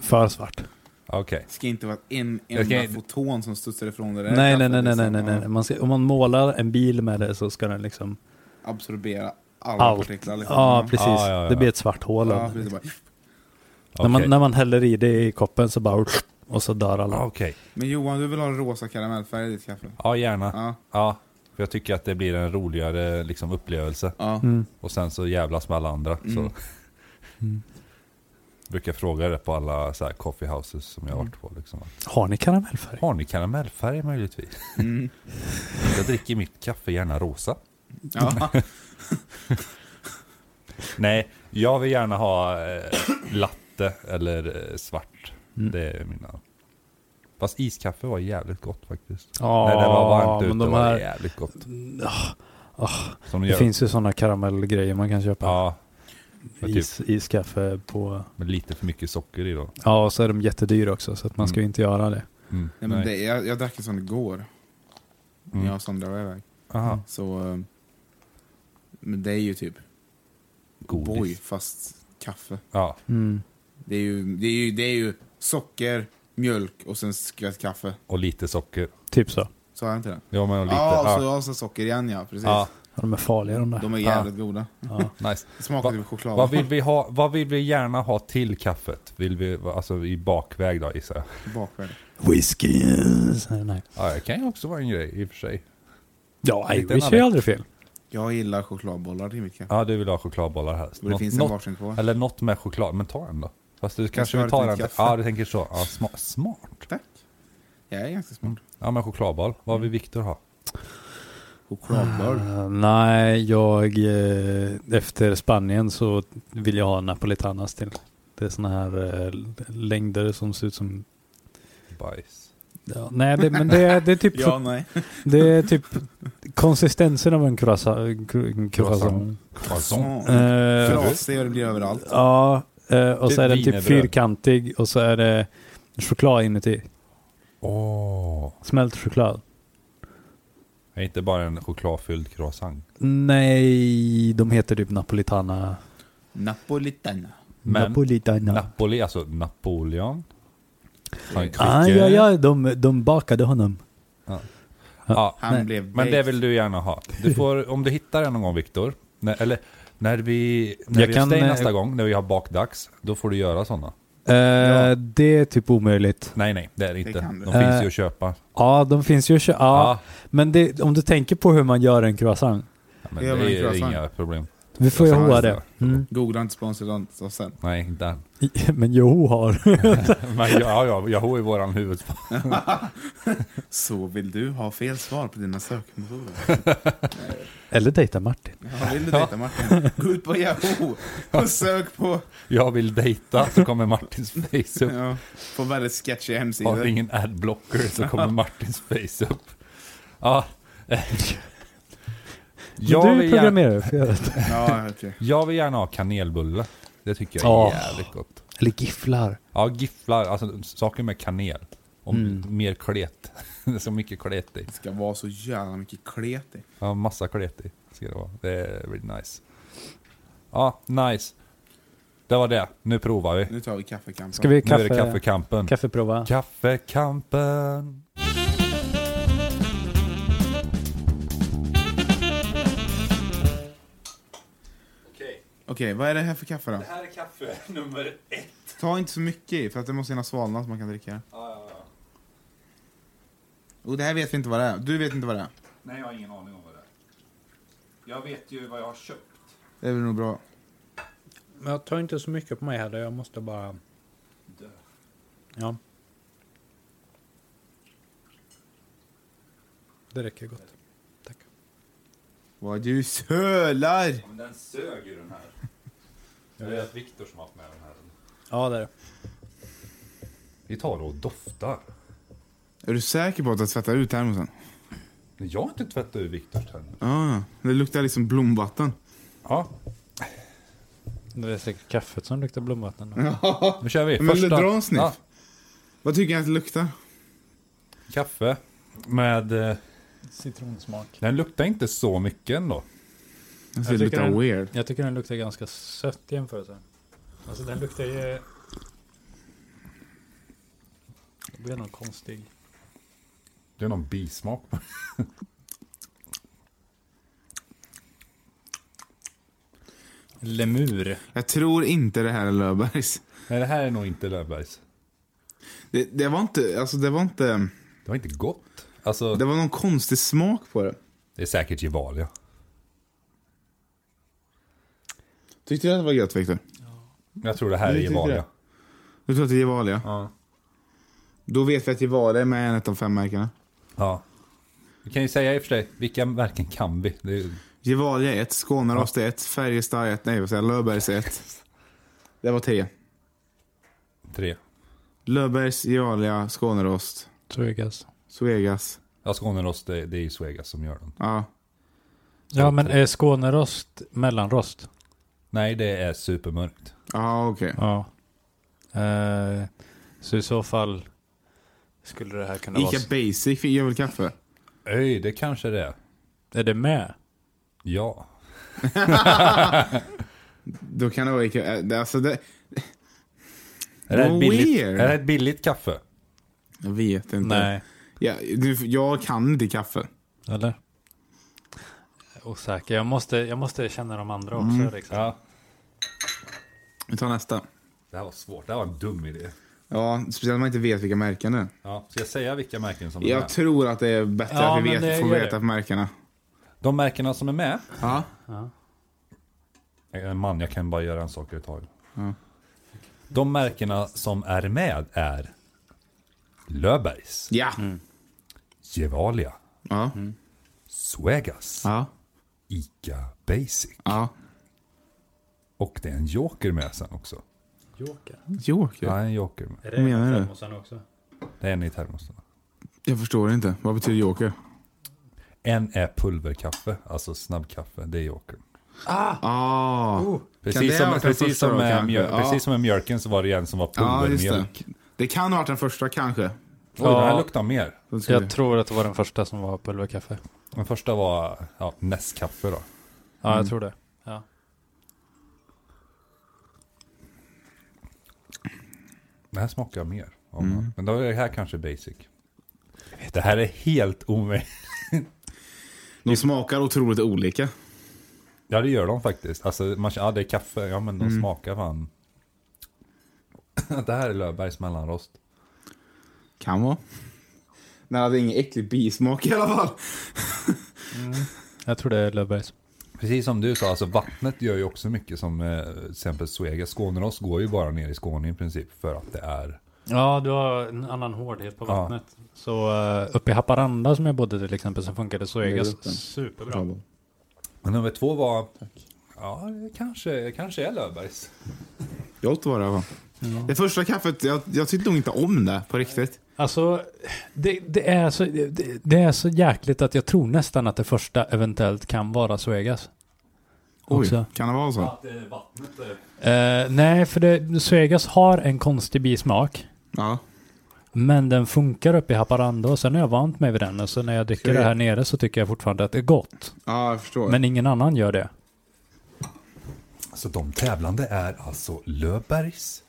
Speaker 3: för svart.
Speaker 1: ah, Okej,
Speaker 2: Det ska inte vara en
Speaker 1: Jag
Speaker 2: enda
Speaker 1: ska-
Speaker 2: foton som studsar ifrån det där
Speaker 3: Nej, nej,
Speaker 2: kaffet,
Speaker 3: nej, nej, nej,
Speaker 2: liksom.
Speaker 3: nej, nej.
Speaker 2: Ja.
Speaker 3: Man ska, om man målar en bil med det så ska den liksom...
Speaker 2: Absorbera alla
Speaker 3: Allt.
Speaker 2: partiklar. liksom.
Speaker 3: Ja, precis.
Speaker 1: Ja, ja, ja.
Speaker 3: Det blir ett svart hål. av
Speaker 2: Ja,
Speaker 3: det.
Speaker 2: precis. Bara-
Speaker 3: När,
Speaker 1: okej.
Speaker 3: man, när man häller i det i koppen så bara... Och så dör alla.
Speaker 1: Ah, okej.
Speaker 2: Men Johan, du vill ha en rosa karamellfärg i ditt kaffe?
Speaker 1: Ja, gärna.
Speaker 2: Ja.
Speaker 1: Ja, för jag tycker att det blir en roligare liksom, upplevelse.
Speaker 2: ja.
Speaker 3: Mm.
Speaker 1: Och sen så jävlas med alla andra. Så.
Speaker 2: Mm.
Speaker 3: Mm.
Speaker 1: *laughs* Brukar fråga det på alla så här coffee houses som jag har varit på. Liksom. att,
Speaker 3: Har ni karamellfärg?
Speaker 1: Har ni karamellfärg möjligtvis?
Speaker 2: Mm.
Speaker 1: *laughs* Jag dricker mitt kaffe gärna rosa. *laughs*
Speaker 2: ja.
Speaker 3: Typ.
Speaker 1: Nej, jag vill gärna ha eh, latte eller eh, svart.
Speaker 3: Mm.
Speaker 1: Det är mina. Fast iskaffe var jävligt gott faktiskt.
Speaker 3: Ja,
Speaker 1: När det var varmt ute
Speaker 3: men de
Speaker 1: var
Speaker 3: här... Mm,
Speaker 1: det jävligt gott.
Speaker 3: ah,
Speaker 1: Som
Speaker 3: det
Speaker 1: gör,
Speaker 3: finns ju sådana karamellgrejer man kan köpa.
Speaker 1: Ja, men typ-
Speaker 3: Is, iskaffe på...
Speaker 1: med lite för mycket socker i då.
Speaker 3: Ja, och så är de jättedyra också så att man ska ju inte göra det.
Speaker 1: Mm.
Speaker 2: Nej, men det, jag, jag drack en sån igår.
Speaker 1: Mm.
Speaker 2: Jag och Sandra var iväg.
Speaker 3: Mm.
Speaker 1: Aha,
Speaker 2: Så... eh, Men det är ju typ
Speaker 1: godis.
Speaker 2: boy fast kaffe.
Speaker 1: Ja,
Speaker 3: Mm.
Speaker 2: Det är ju, det är ju, det är ju socker, mjölk och sen skvätt kaffe.
Speaker 1: och lite socker.
Speaker 3: Typ så.
Speaker 2: Sa jag inte det?
Speaker 1: Ja, men och lite.
Speaker 2: Ja,
Speaker 1: Ja,
Speaker 3: alltså,
Speaker 2: och så, ja, så socker igen ja. Precis.
Speaker 1: ja,
Speaker 3: Ja, de är farliga de där.
Speaker 2: De är jävligt goda.
Speaker 3: Ja.
Speaker 1: nice.
Speaker 2: Det smakar
Speaker 1: Va-
Speaker 2: typ choklad.
Speaker 1: Vad vill, vi ha, vad vill vi gärna ha till kaffet? Vill vi, alltså i bakväg då gissar jag.
Speaker 2: *laughs* Bakväg.
Speaker 3: Whisky. Så, nej.
Speaker 1: Ja, det kan ju också vara en grej i och för sig.
Speaker 3: Ja,
Speaker 1: Lite
Speaker 3: Irish är ju
Speaker 1: annat.
Speaker 3: aldrig fel.
Speaker 2: Jag gillar chokladbollar till mitt kaffe.
Speaker 1: Ja, du vill ha chokladbollar helst.
Speaker 2: Och det
Speaker 1: Något-
Speaker 2: finns en
Speaker 1: något-
Speaker 2: varsin kvar.
Speaker 1: Eller något med choklad, men ta en då. Fast du kanske
Speaker 2: har
Speaker 1: vill ta
Speaker 2: ett
Speaker 1: den.
Speaker 2: kaffe.
Speaker 1: Ja, du tänker så. Ja, sma- smart.
Speaker 2: Tack. Jag är ganska smart.
Speaker 1: Ja, men chokladboll. Vad
Speaker 2: Mm.
Speaker 1: vill Viktor ha?
Speaker 2: Chokladboll.
Speaker 3: Eh, nej, jag... Eh, efter Spanien så vill jag ha napolitanas till. Det är såna här eh, längder som ser ut som...
Speaker 1: Bajs.
Speaker 3: Ja, nej, det, men det, är- det är typ... *laughs*
Speaker 2: Ja, nej.
Speaker 3: Det är typ konsistensen av en croissant. Croissant.
Speaker 1: Croissant.
Speaker 3: croissant.
Speaker 1: Croissant.
Speaker 3: Eh,
Speaker 2: Frasig och det blir överallt.
Speaker 3: Ja, eh, och så
Speaker 1: Typ
Speaker 3: är den typ
Speaker 1: wienerbröd.
Speaker 3: fyrkantig och så är det choklad inuti.
Speaker 1: Åh.
Speaker 3: Smält choklad.
Speaker 1: Är inte bara en chokladfylld croissant.
Speaker 3: Nej, de heter typ napolitana.
Speaker 2: Napolitana.
Speaker 1: Men-
Speaker 3: napolitana.
Speaker 1: Napoli, alltså Napoleon. Han är
Speaker 3: ah,
Speaker 1: kvick.
Speaker 3: ja, ja, de, de bakade honom.
Speaker 1: Ja,
Speaker 2: Han
Speaker 3: Nej,
Speaker 2: blev
Speaker 1: men det
Speaker 2: baked.
Speaker 1: vill du gärna ha. Du får, om du hittar den någon gång Viktor, när, eller när vi, när
Speaker 3: Jag
Speaker 1: vi
Speaker 3: kan,
Speaker 1: stay
Speaker 3: eh,
Speaker 1: nästa gång, när vi har bakdags, då får du göra sådana.
Speaker 3: Eh, Det är typ omöjligt.
Speaker 1: Nej, nej, det är det inte.
Speaker 2: kan du.
Speaker 1: De finns
Speaker 3: Eh,
Speaker 1: ju att köpa.
Speaker 3: Ja, de finns ju att kö- ja,
Speaker 1: Ja,
Speaker 3: Men det, om du tänker på hur man gör en croissant.
Speaker 1: ja, men
Speaker 2: gör man
Speaker 1: det
Speaker 2: en
Speaker 1: är
Speaker 2: croissant.
Speaker 1: inga problem.
Speaker 3: Vi får ju
Speaker 2: Croissant,
Speaker 3: hoa
Speaker 2: just
Speaker 3: det. Mm. *laughs*
Speaker 2: Googla inte sponsrat oss sen.
Speaker 1: Nej, inte än.
Speaker 3: Men Joho har.
Speaker 1: Men ja, ja, jag har ju våran huvud.
Speaker 2: Så vill du ha fel svar på dina sökmotorer?
Speaker 3: Eller dejta Martin.
Speaker 2: Ja, vill du dejta Martin? Gå ut på Yahoo och sök på,
Speaker 1: Jag vill dejta, så kommer Martins face upp.
Speaker 2: ja, på väldigt sketchiga
Speaker 1: Har
Speaker 2: hemsidor.
Speaker 1: ingen adblocker så kommer Martins face upp. Ja. eh, Jag
Speaker 3: du
Speaker 1: vill, gärna,
Speaker 3: programmerar ju för att göra det.
Speaker 2: Ja, okej.
Speaker 1: jag vill gärna ha kanelbulle. Det tycker jag är
Speaker 3: Åh.
Speaker 1: jävligt gott.
Speaker 3: Eller gifflar.
Speaker 1: Ja, gifflar, alltså saker med kanel. Om
Speaker 3: Mm.
Speaker 1: mer klet. *laughs* det är så mycket klet i.
Speaker 2: Det ska vara så jävla mycket klet i.
Speaker 1: Ja, massa klet i ska det vara. Det blir nice. Ja, nice. Det var det. Nu provar vi.
Speaker 2: Nu tar vi kaffekampen.
Speaker 3: Ska vi
Speaker 1: Nu är det
Speaker 3: kaffe,
Speaker 1: kaffekampen.
Speaker 3: kaffeprova?
Speaker 1: Kaffekampen.
Speaker 2: Okej, vad är det här för kaffe då?
Speaker 1: här är kaffe *laughs* nummer ett.
Speaker 2: Ta inte så mycket i, för att det måste hinna svalna så man kan dricka det. Och det här vet vi inte vad det är. Du vet inte vad det är.
Speaker 1: Nej, jag har ingen aning om vad det är. Jag vet ju vad jag har köpt.
Speaker 2: Det är väl nog bra.
Speaker 5: Men jag tar inte så mycket på mig heller. Jag måste bara... Ja. Det räcker gott. Tack.
Speaker 2: Vad du sölar!
Speaker 1: men den sög ju den här. Jag vet att Viktor som har haft med den här.
Speaker 5: Ja, det är det.
Speaker 1: Vi tar och doftar.
Speaker 2: Är du säker på att jag tvättar ut termosen?
Speaker 1: Nej, Jag har inte tvättat ur Viktors tänder.
Speaker 2: Ja, ja. det luktar liksom
Speaker 3: *laughs*
Speaker 2: blomvatten.
Speaker 1: Ja,
Speaker 3: Det är säkert kaffet som luktar blomvatten.
Speaker 5: Mm.
Speaker 1: nu kör vi.
Speaker 2: Men dra en sniff.
Speaker 1: Ja,
Speaker 2: Vad tycker jag att det luktar?
Speaker 1: kaffe med... eh,
Speaker 3: Citronsmak.
Speaker 1: Den luktar inte så mycket ändå.
Speaker 2: Jag
Speaker 3: Jag
Speaker 2: det luktar
Speaker 3: tycker den-
Speaker 2: weird.
Speaker 3: Jag tycker den luktar ganska sött i jämförelse. Alltså den luktar ju... Det blir någon konstig...
Speaker 1: Det är någon bismak.
Speaker 3: Lemur.
Speaker 2: Jag tror inte det här är Löfbergs.
Speaker 1: Nej, det här är nog inte Löfbergs.
Speaker 2: Det, det var inte, alltså det var inte,
Speaker 1: Det var inte gott. Alltså,
Speaker 2: det var någon konstig smak på det.
Speaker 1: det är säkert Gevalia.
Speaker 2: Tyckte du att det var gött Viktor?
Speaker 1: Jag tror det här är
Speaker 2: Jag tycker
Speaker 1: Gevalia.
Speaker 2: det. Du tror att det är Gevalia? Då vet vi att Gevalia är med i en av de fem märkena.
Speaker 1: Ja. Vi kan ju säga i och för sig, vilka märken kan vi? Det är, ju-
Speaker 2: Gevalia 1, Skånerost 1, Färjestad 1, nej vad säger jag, Löfbergs 1. Det var tre.
Speaker 1: tre.
Speaker 2: Löfbergs, Gevalia, Skånerost,
Speaker 3: Troegas.
Speaker 2: Suegas.
Speaker 1: Ja, Skånerost, det, det är ju Svegas som gör den.
Speaker 2: Ja,
Speaker 3: Ja
Speaker 2: typ.
Speaker 3: men är Skånerost mellanrost?
Speaker 1: Nej, det är supermörkt.
Speaker 2: ja okej.
Speaker 3: Ja. Eh, så i så fall skulle det här kunna vara...
Speaker 2: Ica Basic gör väl kaffe?
Speaker 1: Öj, det kanske det är.
Speaker 3: Är det med?
Speaker 1: Ja.
Speaker 2: Då kan det vara Ica, eh, det- alltså det,
Speaker 1: Är det, här
Speaker 2: Vad
Speaker 1: ett billigt, är
Speaker 2: weird.
Speaker 1: det här ett billigt kaffe?
Speaker 2: jag vet inte.
Speaker 3: Nej.
Speaker 2: Ja, du, jag kan inte kaffe.
Speaker 3: Eller? Osäker. Jag måste, jag måste känna de andra också.
Speaker 2: Mm.
Speaker 3: Liksom.
Speaker 1: Ja.
Speaker 2: Vi tar nästa.
Speaker 1: Det här var svårt, det här var en dum idé.
Speaker 2: Ja, speciellt om man inte vet vilka märken det är.
Speaker 1: Ja, ska jag säga vilka märken som är
Speaker 2: Jag
Speaker 1: med?
Speaker 2: tror att det är bättre
Speaker 3: Ja,
Speaker 2: att vi
Speaker 3: men det
Speaker 2: vet, får
Speaker 3: gör
Speaker 2: veta
Speaker 3: det.
Speaker 2: märkena.
Speaker 1: De märkena som är med?
Speaker 2: Ja.
Speaker 1: Jag är en man, jag kan bara göra en sak i taget.
Speaker 2: Ja.
Speaker 1: De märkena som är med är Löfbergs,
Speaker 2: Ja.
Speaker 3: Mm.
Speaker 1: Gevalia,
Speaker 2: Ja.
Speaker 1: Swegas,
Speaker 2: ja.
Speaker 1: Ica Basic.
Speaker 2: ja.
Speaker 1: Och det är en joker med sen också.
Speaker 3: Joker.
Speaker 2: Joker?
Speaker 1: Ja, en joker med.
Speaker 3: Är
Speaker 2: Vad menar du?
Speaker 3: termosen också?
Speaker 1: Det är en i termosen.
Speaker 2: Jag förstår inte. Vad betyder joker?
Speaker 1: En är pulverkaffe, alltså snabbkaffe. Det är jokern.
Speaker 2: Ah.
Speaker 3: Oh.
Speaker 2: Kan det
Speaker 1: Precis
Speaker 2: ha
Speaker 1: som,
Speaker 2: varit den
Speaker 1: precis,
Speaker 2: första
Speaker 1: som
Speaker 2: då,
Speaker 1: med
Speaker 2: kanske?
Speaker 1: mjöl,
Speaker 2: Ja.
Speaker 1: precis som med mjölken så var det ju en som var
Speaker 2: Ja, just
Speaker 1: pulvermjölk.
Speaker 2: det. Det kan ha varit den första kanske.
Speaker 1: Oj, den här
Speaker 3: Ja.
Speaker 1: luktar mer.
Speaker 2: Då ska vi-
Speaker 3: Jag tror att det var den första som var pulverkaffe.
Speaker 1: Den första var ja, Nescafé då.
Speaker 3: Ja,
Speaker 2: Mm.
Speaker 3: jag tror det. Ja.
Speaker 1: Det här smakar mer. om man- Men då är det här kanske basic. Det här är helt omöjligt.
Speaker 2: De smakar otroligt olika.
Speaker 1: *laughs* Ja, det gör de faktiskt. Alltså, man, ja, det är kaffe. Ja, men de smakar fan. *clears throat* det här är Löfbergs mellanrost.
Speaker 2: Kan vara. Den hade ingen äcklig bismak i alla fall.
Speaker 3: Jag tror det är Löfbergs.
Speaker 1: Precis som du sa, alltså vattnet gör ju också mycket som eh, till exempel Svega. Skånerost går ju bara ner i Skåne i princip för att det är...
Speaker 3: Ja, du har en annan hårdhet på
Speaker 1: Ja.
Speaker 3: vattnet. Så eh, uppe i Haparanda som jag bodde till exempel så
Speaker 2: Det
Speaker 3: funkade
Speaker 2: är
Speaker 3: Zoegas
Speaker 2: lukten.
Speaker 3: superbra.
Speaker 1: Men nummer två var... Ja, det kanske, det kanske är Löfbergs.
Speaker 2: Jag åt vad det var. Det första kaffet, jag, jag tyckte nog inte om det på riktigt.
Speaker 3: Alltså, det, det, är så, det, det är så jäkligt att jag tror nästan att det första eventuellt kan vara Zoegas.
Speaker 2: Oj,
Speaker 3: Också.
Speaker 2: kan det vara så?
Speaker 3: Eh, nej, för det, Zoegas har en konstig bismak.
Speaker 2: Ja.
Speaker 3: Men den funkar uppe i Haparanda och sen har jag vant mig vid den. Och så när jag dricker det här nere så tycker jag fortfarande att det är gott.
Speaker 2: Ja, jag förstår.
Speaker 3: Men ingen annan gör det.
Speaker 1: Så de tävlande är alltså Löfbergs,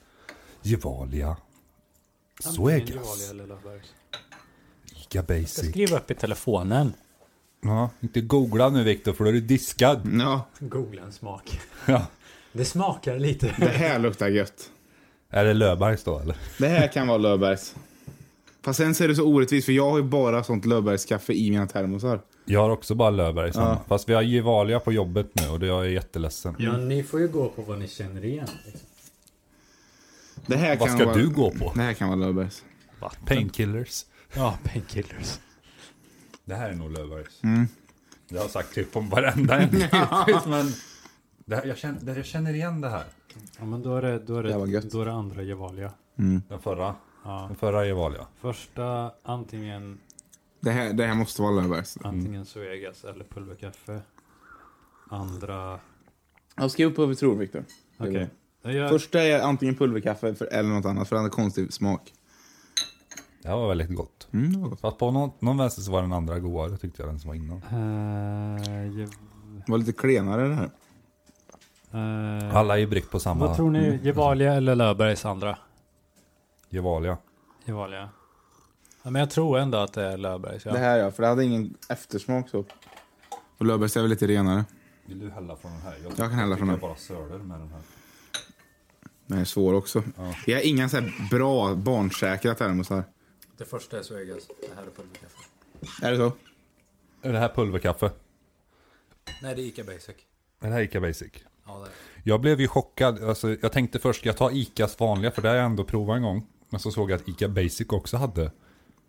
Speaker 1: Gevalia, Suegas, Ica
Speaker 3: Jag
Speaker 1: Basic.
Speaker 3: skriver upp i telefonen.
Speaker 1: Ja, inte googla nu Viktor för då är du diskad.
Speaker 2: Ja,
Speaker 3: Googla en smak.
Speaker 1: Ja.
Speaker 3: Det smakar
Speaker 2: det
Speaker 3: lite.
Speaker 2: här luktar gött.
Speaker 1: Är det Löfbergs då eller?
Speaker 2: Det här kan vara Löfbergs. Fast sen så är det så orättvist för jag har ju bara sånt Löfbergskaffe i mina termosar.
Speaker 1: Jag har också bara Löfbergs hemma.
Speaker 2: Ja.
Speaker 1: Fast vi har Gevalia på jobbet nu och det jag är jätteledsen.
Speaker 3: Ja, ni får ju gå på vad ni känner igen. liksom.
Speaker 2: Det här
Speaker 1: Vad
Speaker 2: kan
Speaker 1: ska
Speaker 2: vara...
Speaker 1: du gå på?
Speaker 2: Det här kan vara Löfbergs.
Speaker 1: Painkillers.
Speaker 3: Ja, *laughs* painkillers.
Speaker 1: Det här är nog Löfbergs.
Speaker 2: Mm.
Speaker 1: Jag har sagt typ om varenda
Speaker 2: *laughs*
Speaker 1: en hittills, men det här, jag, känner, det, jag känner igen det här.
Speaker 3: Ja, men då är det, då är
Speaker 2: Det var
Speaker 3: det,
Speaker 2: gött.
Speaker 3: då är det andra Gevalia.
Speaker 1: Den förra.
Speaker 3: Ja.
Speaker 1: Den förra Gevalia.
Speaker 3: Första
Speaker 2: Mm.
Speaker 3: antingen,
Speaker 2: Det här, det här måste vara Löfbergs.
Speaker 3: antingen Suegas eller pulverkaffe. Andra...
Speaker 2: Ja, skriv upp vad vi tror Viktor.
Speaker 3: Okej. Jag-
Speaker 2: Första är antingen pulverkaffe för, eller något annat för den har konstig smak.
Speaker 1: Det här var väldigt gott.
Speaker 2: Mm, det var gott.
Speaker 1: Fast på någon, någon vänster så var den andra godare tyckte jag den som var innan.
Speaker 3: Eh, Ge-
Speaker 2: Det var lite klenare det här.
Speaker 3: eh,
Speaker 1: Alla är ju bryggt på
Speaker 3: Vad
Speaker 1: samma
Speaker 3: tror ni? Gevalia eller Löfbergs andra?
Speaker 1: Gevalia.
Speaker 3: Gevalia. Ja, men jag tror ändå att det är Löfbergs. Ja.
Speaker 2: Det här ja, för det hade ingen eftersmak så. Och Löfbergs är väl lite renare.
Speaker 1: Vill du hälla från den här? Jag,
Speaker 2: kan hälla från
Speaker 1: tycker
Speaker 2: den.
Speaker 1: bara söler med den här.
Speaker 2: Den är svår också. Jag har inga så här bra barnsäkra termosar.
Speaker 3: Det första är Suegas. Det här är pulverkaffe.
Speaker 2: Är det så?
Speaker 1: Är det här pulverkaffe?
Speaker 3: Nej, det är Ica Basic.
Speaker 1: Är det här Ica Basic?
Speaker 3: Ja, det är.
Speaker 1: Jag blev ju chockad. Alltså, jag tänkte först, ska jag ta Icas vanliga? För det har jag ändå provat en gång. Men så såg jag att Ica Basic också hade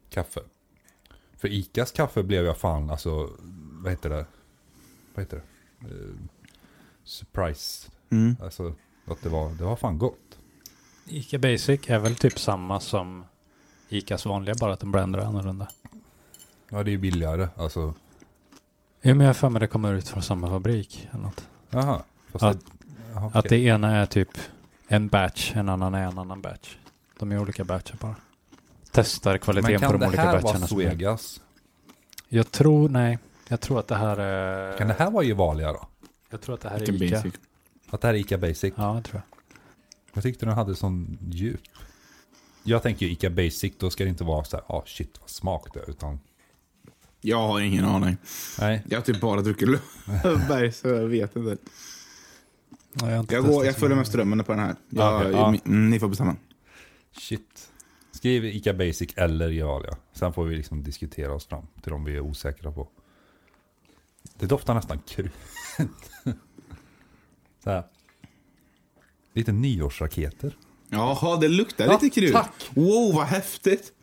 Speaker 1: kaffe. För Icas kaffe blev jag fan, alltså, vad heter det? Vad heter det? Eh, surprise.
Speaker 3: Mm.
Speaker 1: Alltså, att det var, det var fan gott.
Speaker 3: Ica Basic är väl typ samma som Icas vanliga, bara att de blandar annorlunda.
Speaker 1: Ja, det är ju billigare. Alltså,
Speaker 3: Jo, men jag har för mig det kommer ut från samma fabrik. Eller något.
Speaker 1: jaha. Fast
Speaker 3: Att-
Speaker 1: det, jaha,
Speaker 3: Att
Speaker 1: okej.
Speaker 3: det ena är typ en batch, en annan är en annan batch. De är olika batcher bara. Testar
Speaker 1: Men
Speaker 3: kvaliteten på
Speaker 1: kan
Speaker 3: de
Speaker 1: det
Speaker 3: olika
Speaker 1: här vara
Speaker 3: batcherna. som är.
Speaker 1: Suegas?
Speaker 3: Jag tror, nej. Jag tror att det här är...
Speaker 1: Kan det här vara Gevalia då?
Speaker 3: Jag tror att det här är Ica.
Speaker 1: Att det här är Ica Basic?
Speaker 3: Ja, jag tror jag.
Speaker 1: Jag tyckte den hade sån djup. Jag tänker ju Ica Basic, då ska det inte vara så här, ah shit vad smak det är, utan...
Speaker 2: Jag har ingen aning.
Speaker 1: Nej.
Speaker 2: Jag har typ bara druckit Löfbergs så jag vet inte.
Speaker 3: Ja, jag har inte
Speaker 2: Jag,
Speaker 3: testat
Speaker 2: går, jag
Speaker 3: så
Speaker 2: följer
Speaker 3: många.
Speaker 2: med strömmen på den här. Jag,
Speaker 1: okej, ja.
Speaker 2: mm, ni får bestämma.
Speaker 1: Shit. Skriv Ica Basic eller Gevalia. Sen får vi liksom diskutera oss fram till de vi är osäkra på. Det doftar nästan kul. *laughs* så här. Lite nyårsraketer.
Speaker 2: Jaha, det luktar
Speaker 1: Ja,
Speaker 2: lite krut.
Speaker 1: tack.
Speaker 2: Wow, vad häftigt.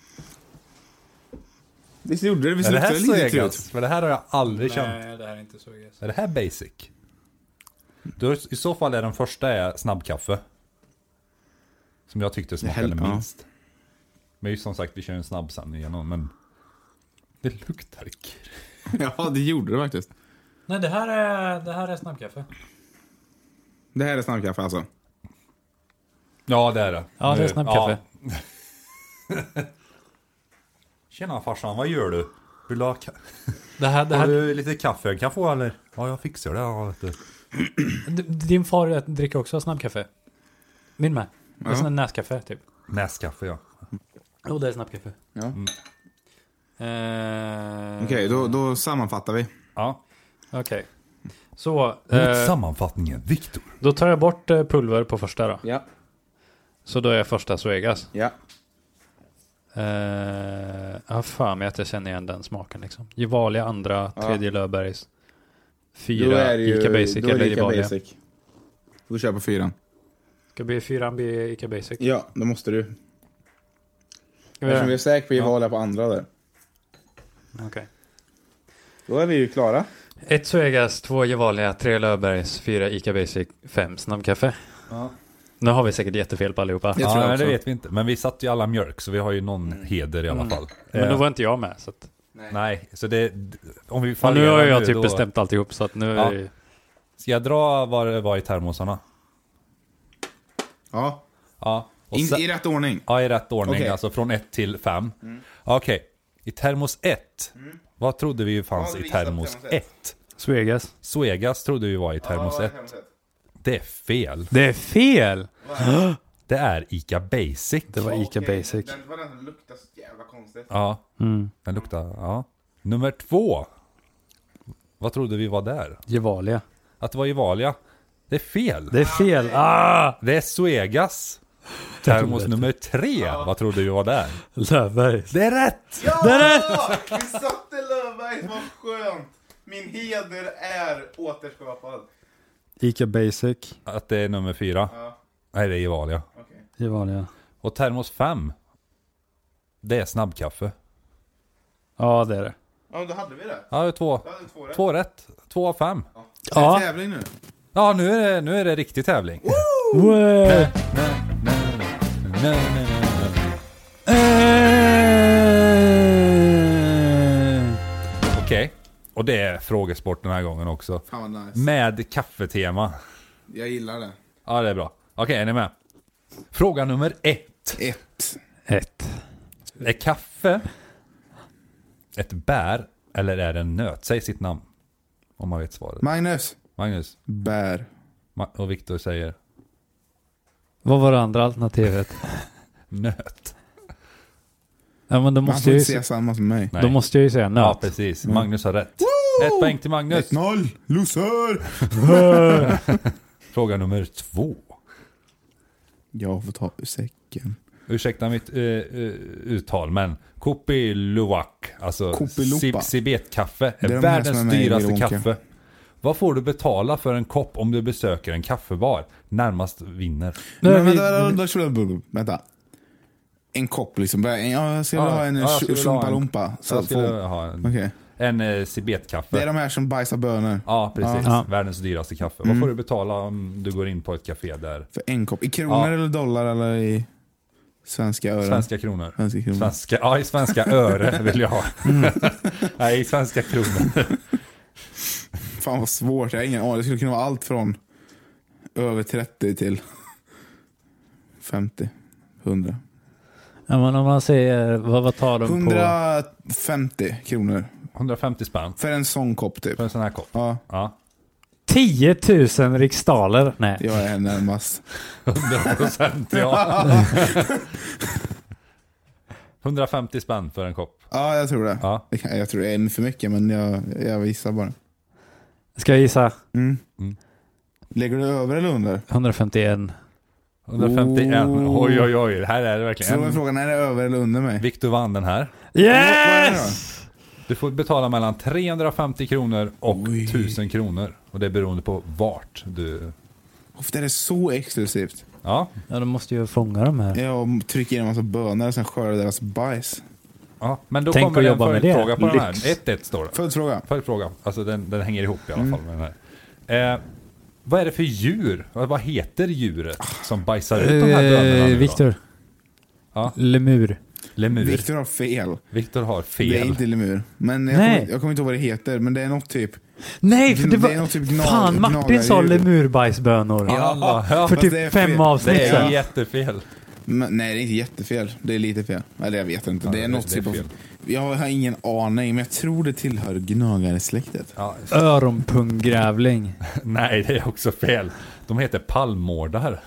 Speaker 2: Visst gjorde det? Visst
Speaker 1: är det
Speaker 2: luktade
Speaker 1: här
Speaker 2: det lite krut? *laughs*
Speaker 1: Suegas? För det här har jag aldrig känt.
Speaker 5: Nej, det här är inte Suegas.
Speaker 1: Är det här Basic? Då, I så fall är den första är snabbkaffe. Som jag tyckte smakade
Speaker 2: Hel- ja.
Speaker 1: minst. Men ju som sagt, vi kör en snabb sen igenom, men... Det luktar kul.
Speaker 2: Ja, det gjorde det faktiskt.
Speaker 3: Nej, det här är, det här är snabbkaffe.
Speaker 2: Det här är snabbkaffe alltså.
Speaker 1: Ja, det är det.
Speaker 3: Ja, det är
Speaker 1: Nu-
Speaker 3: snabbkaffe.
Speaker 1: Tjena farsan, vad gör du? Vill du ha, ka-
Speaker 3: Det här, det
Speaker 1: har
Speaker 3: här,
Speaker 1: du lite kaffe jag kan få eller? Ja, jag fixar det. Ja, vet du.
Speaker 3: d- din far dricker också snabbkaffe. Min med. Det är
Speaker 2: Ja.
Speaker 3: sån här näskaffe typ.
Speaker 1: Näskaffe, ja.
Speaker 3: Jo, det är snabbkaffe.
Speaker 2: Ja.
Speaker 3: Eh,
Speaker 2: Okej, då, då sammanfattar vi.
Speaker 1: Ja.
Speaker 3: okej. Så,
Speaker 1: Mot
Speaker 3: eh,
Speaker 1: sammanfattningen, Viktor.
Speaker 3: då tar jag bort eh, pulver på första då.
Speaker 2: Ja.
Speaker 3: Så då är jag första Suegas.
Speaker 2: ja.
Speaker 3: Eh, jag har för mig att ah, jag känner igen den smaken liksom. Gevalia andra, tredje Löfbergs. Fyra Ica Basic
Speaker 2: då är
Speaker 3: eller
Speaker 2: det Ica
Speaker 3: Gevalia.
Speaker 2: Basic. Får vi köpa fyran?
Speaker 3: Ska bli fyran bli Ica Basic?
Speaker 2: Ja, det måste du.
Speaker 3: Ska vi
Speaker 2: Eftersom vi
Speaker 3: göra
Speaker 2: är säkra på Gevalia på andra där.
Speaker 3: det? Okej.
Speaker 2: Då är vi ju klara.
Speaker 3: Ett Suegas, två Gevalia, tre Löfbergs, fyra Ica Basic, fem snabbkaffe.
Speaker 1: Ja.
Speaker 3: Nu har vi säkert jättefel på allihopa.
Speaker 2: Jag tror
Speaker 1: ja,
Speaker 2: jag
Speaker 1: nej,
Speaker 2: också.
Speaker 1: det vet vi inte. Men vi satt ju alla mjölk, så vi har ju någon heder i alla fall.
Speaker 3: Mm. Men då
Speaker 1: Eh,
Speaker 3: var inte jag med. Så att,
Speaker 1: Nej, så det... Om vi
Speaker 3: och nu
Speaker 1: fallerar
Speaker 3: har jag typ
Speaker 1: då-
Speaker 3: bestämt alltihop så att nu
Speaker 1: Ja.
Speaker 3: är det...
Speaker 1: Ska jag dra vad det var i termosarna?
Speaker 2: Ja.
Speaker 1: Ja. Och
Speaker 2: In,
Speaker 1: sen-
Speaker 2: I rätt ordning.
Speaker 1: Ja, i rätt ordning.
Speaker 2: Okej. Mm.
Speaker 1: Alltså från 1 till 5. Okej. I termos 1. Vad trodde vi fanns
Speaker 2: Ja,
Speaker 1: i
Speaker 2: vi gissade på
Speaker 1: termos
Speaker 2: termos
Speaker 1: 1?
Speaker 3: Svegas.
Speaker 1: Suegas trodde vi var i termos 1. Det är fel.
Speaker 3: Det är fel!
Speaker 1: Det är Ica Basic.
Speaker 3: Det var Ica Basic.
Speaker 2: Den var den som luktade så jävla konstigt.
Speaker 1: Ja.
Speaker 3: Mm.
Speaker 1: Den luktar... Ja. Nummer två. Vad trodde vi var där?
Speaker 3: Gevalia.
Speaker 1: Att det var Gevalia. Det är fel.
Speaker 3: Det är fel. Ah!
Speaker 1: Det är Suegas. Termos nummer tre. Vad trodde vi var där?
Speaker 3: Löfbergs.
Speaker 1: Det är rätt!
Speaker 2: Ja! Vi satte Löfbergs, vad skönt! Min heder är återskapad.
Speaker 3: Ica Basic.
Speaker 1: Att det är nummer fyra.
Speaker 2: Ja.
Speaker 1: Nej, det är Gevalia.
Speaker 2: Okej.
Speaker 3: Gevalia.
Speaker 1: Och termos 5. Det är snabbkaffe.
Speaker 3: Ja, det är det.
Speaker 2: Ja, men då hade vi det.
Speaker 1: Ja, det är två,
Speaker 2: Då hade vi två rätt.
Speaker 1: två rätt. Två av fem.
Speaker 2: Ja.
Speaker 3: Ja.
Speaker 2: tävling nu.
Speaker 1: Ja, nu är det, nu är det riktig tävling.
Speaker 3: Wow.
Speaker 1: Okej. Och det är frågesport den här gången också.
Speaker 2: Fan vad nice.
Speaker 1: Med kaffetema.
Speaker 2: Jag gillar det.
Speaker 1: Ja, det är bra. Okej, är ni med? Fråga nummer ett.
Speaker 2: Ett.
Speaker 3: Ett.
Speaker 1: Är kaffe ett bär eller är det en nöt? Säg sitt namn. Om man vet svaret.
Speaker 2: Magnus.
Speaker 1: Magnus
Speaker 2: Bär.
Speaker 1: Ma- och Viktor säger
Speaker 3: Vad var det andra alternativet?
Speaker 1: nöt.
Speaker 3: Ja, men då
Speaker 2: Man
Speaker 3: måste,
Speaker 2: får
Speaker 3: jag ju,
Speaker 2: inte säga samma som mig.
Speaker 1: Nej.
Speaker 3: då måste jag ju säga
Speaker 1: Ja,
Speaker 3: nöt. Mm.
Speaker 1: precis. Magnus har rätt. Ett poäng till Magnus.
Speaker 2: 1-0. Loser!
Speaker 1: Fråga nummer två.
Speaker 2: Jag får ta ur säcken.
Speaker 1: Ursäkta mitt eh, eh, uttal, men Kopiluwak, alltså
Speaker 2: Kopilupa.
Speaker 1: Sib- sibetkaffe,
Speaker 2: Det är
Speaker 1: är,
Speaker 2: de här som är
Speaker 1: världens
Speaker 2: med i
Speaker 1: dyraste
Speaker 2: Willy Wonka.
Speaker 1: kaffe. Vad får du betala för en kopp om du besöker en kaffebar? Närmast vinner.
Speaker 3: Nu är
Speaker 2: Men
Speaker 3: vi,
Speaker 2: vänta, vänta, vänta, vänta, vänta, vänta. En kopp liksom. Ja, jag skulle
Speaker 1: Ja,
Speaker 2: ha en
Speaker 1: ja, jag skulle
Speaker 2: ja,
Speaker 1: vilja ha en-
Speaker 2: chumpalumpa.
Speaker 1: Jag skulle
Speaker 2: Okej.
Speaker 1: ha en, en eh, sibetkaffe.
Speaker 2: Det är de här som bajsar bönor.
Speaker 1: Ja, precis.
Speaker 3: Ja.
Speaker 1: Världens dyraste kaffe.
Speaker 2: Mm.
Speaker 1: Vad får du betala om du går in på ett café där?
Speaker 2: För en kopp. I kronor
Speaker 1: Ja.
Speaker 2: eller dollar eller i svenska ören?
Speaker 1: Svenska kronor.
Speaker 2: Svenska kronor.
Speaker 1: Svenska, ja, i svenska öre vill jag ha.
Speaker 3: Mm.
Speaker 1: Nej, i svenska kronor.
Speaker 2: Fan vad svårt. Jag har ingen aning. Det skulle kunna vara allt från över 30 till 50. 100.
Speaker 3: ja, men om man säger, vad, vad tar de på?
Speaker 2: 150 kronor.
Speaker 1: 150 spänn
Speaker 2: För en sån kopp typ.
Speaker 1: för en sån här kopp.
Speaker 2: Ja,
Speaker 1: Ja.
Speaker 3: 10 000 riksdaler? Nej.
Speaker 2: jag är närmast.
Speaker 1: 100% ja. 150 spänn för en kopp.
Speaker 2: Ja, jag tror det.
Speaker 1: Ja.
Speaker 2: Det kan- Jag tror det är för mycket, men jag, jag gissar bara.
Speaker 3: Ska jag gissa?
Speaker 2: Mm.
Speaker 1: Mm.
Speaker 2: Lägger du över eller under?
Speaker 3: 151.
Speaker 1: 151.
Speaker 2: Oh.
Speaker 1: Oj, oj, oj. Här är det
Speaker 2: Så då är
Speaker 1: verkligen.
Speaker 2: frågan, är det över eller under mig?
Speaker 1: Viktor vann den här.
Speaker 3: Yes!
Speaker 1: Du får betala mellan 350 kronor och
Speaker 2: Oj.
Speaker 1: 1000 kronor. Och det är beroende på vart du...
Speaker 2: Ofta är det så exklusivt.
Speaker 1: Ja,
Speaker 3: Ja, de måste ju fånga de här.
Speaker 2: Jag trycker in en massa bönor och sen skördar deras bajs.
Speaker 1: ja. men då
Speaker 3: Tänk
Speaker 1: kommer
Speaker 3: att
Speaker 1: det en
Speaker 3: jobba med det.
Speaker 1: följdfråga på den här.
Speaker 3: Lyx.
Speaker 1: 1-1 står det.
Speaker 2: Följdfråga.
Speaker 1: Följdfråga. Alltså den, den hänger ihop i alla
Speaker 2: Mm.
Speaker 1: fall med den här. Eh, vad är det för djur? Vad vad heter djuret som bajsar ut de här bönorna nu
Speaker 3: Eh,
Speaker 1: då?
Speaker 3: Viktor.
Speaker 1: Ja.
Speaker 3: Lemur.
Speaker 1: Lemur.
Speaker 2: Viktor har fel.
Speaker 1: Viktor har fel.
Speaker 2: Det är inte lemur. Men jag
Speaker 3: Nej.
Speaker 2: kommer, jag kommer inte ihåg vad det heter, men det är något typ...
Speaker 3: Nej, för
Speaker 2: Det-
Speaker 3: det
Speaker 2: det är
Speaker 3: var...
Speaker 2: någon typ gnag-
Speaker 3: Fan, Martin sa
Speaker 2: gnagardjur.
Speaker 3: lemurbajsbönor.
Speaker 1: Ja, ja, men
Speaker 3: För
Speaker 2: det är
Speaker 3: typ
Speaker 2: fel.
Speaker 3: fem
Speaker 1: det
Speaker 3: avsnitt
Speaker 1: är
Speaker 3: sedan.
Speaker 1: jättefel.
Speaker 2: Men, nej, det är inte jättefel. Det är lite fel. Eller jag vet inte.
Speaker 1: Ja,
Speaker 2: det är
Speaker 1: det-
Speaker 2: något
Speaker 1: det är
Speaker 2: typ av...
Speaker 1: fel.
Speaker 2: Jag har ingen aning, men jag tror det tillhör gnagarsläktet.
Speaker 1: Ja,
Speaker 3: Öronpunggrävling.
Speaker 1: nej, det är också fel. De heter palmårdar.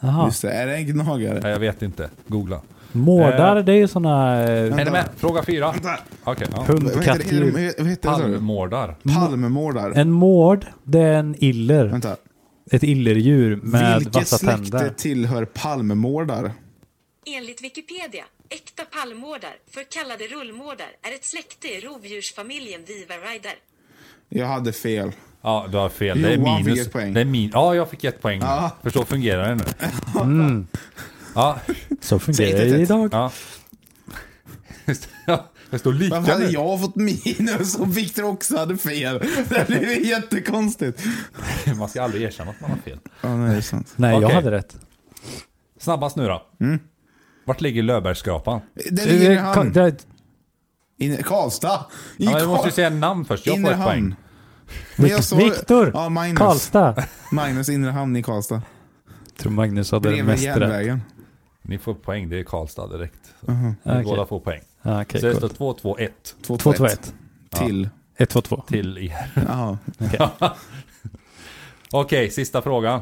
Speaker 3: Jaha.
Speaker 2: Just det, är det en gnagare?
Speaker 1: Nej, jag vet inte. Googla.
Speaker 3: Mårdar, det är ju såna... eh,
Speaker 1: Är ni med? Fråga fyra. Okej, ja.
Speaker 2: Vad heter det?
Speaker 3: Hundkattdjur.
Speaker 2: Vad heter det? sa du?
Speaker 1: Palmårdar.
Speaker 2: Palmemordar.
Speaker 3: En mård, det är en iller.
Speaker 2: Vänta.
Speaker 3: Ett illerdjur med
Speaker 2: Vilket
Speaker 3: vassa
Speaker 2: släkte
Speaker 3: tänder.
Speaker 2: tillhör palmemordar?
Speaker 6: Enligt Wikipedia, äkta palmårdar, förkallade rullmårdar, är ett släkte i rovdjursfamiljen Vivarider.
Speaker 2: Jag hade fel.
Speaker 1: Ja, du har fel. Det är
Speaker 2: Johan fick
Speaker 1: minus.
Speaker 2: ett poäng.
Speaker 1: Det är min ja, jag fick ett poäng.
Speaker 2: Ja. Mm.
Speaker 1: För så fungerar det nu. Ja,
Speaker 2: Säg
Speaker 3: Så fungerar
Speaker 2: det,
Speaker 3: det
Speaker 2: det.
Speaker 3: idag.
Speaker 1: ja. Ja, Det står lika
Speaker 2: Varför hade
Speaker 1: nu.
Speaker 2: jag fått minus och Viktor också hade fel? *laughs* Det blev ju jättekonstigt.
Speaker 1: Man ska aldrig erkänna att man har fel.
Speaker 2: Ja, nej, det är sant.
Speaker 3: Nej, jag
Speaker 1: Okej.
Speaker 3: hade rätt.
Speaker 1: Snabbast nu då. Vart ligger Löbergsskrapan?
Speaker 2: Det ligger i
Speaker 3: Eh, Ka-
Speaker 2: hamn.
Speaker 3: det-
Speaker 2: In, Karlstad. I
Speaker 1: Ja, men jag måste ju
Speaker 2: Karl-
Speaker 1: säga namn först. Jag får
Speaker 2: Inre
Speaker 1: ett poäng.
Speaker 2: hamn. Men jag sa-
Speaker 3: Viktor!
Speaker 2: Ja, Magnus. *laughs*
Speaker 3: Karlstad.
Speaker 2: Magnus, inre hamn i Karlstad.
Speaker 3: tror Magnus hade det
Speaker 2: Bredvid
Speaker 3: mest rätt.
Speaker 2: järnvägen.
Speaker 1: Ni får poäng, det är Karlstad direkt. Så
Speaker 2: Aha.
Speaker 1: ni
Speaker 3: Okej.
Speaker 1: Båda får poäng.
Speaker 3: Ja, Ah, okej,
Speaker 1: så det
Speaker 3: cool.
Speaker 1: står 2-2-1
Speaker 2: Två,
Speaker 3: 2
Speaker 2: två,
Speaker 3: 2
Speaker 2: ett.
Speaker 3: 1
Speaker 2: Till.
Speaker 3: 1 2 2
Speaker 1: till er.
Speaker 2: Ja.
Speaker 1: Okej, sista frågan.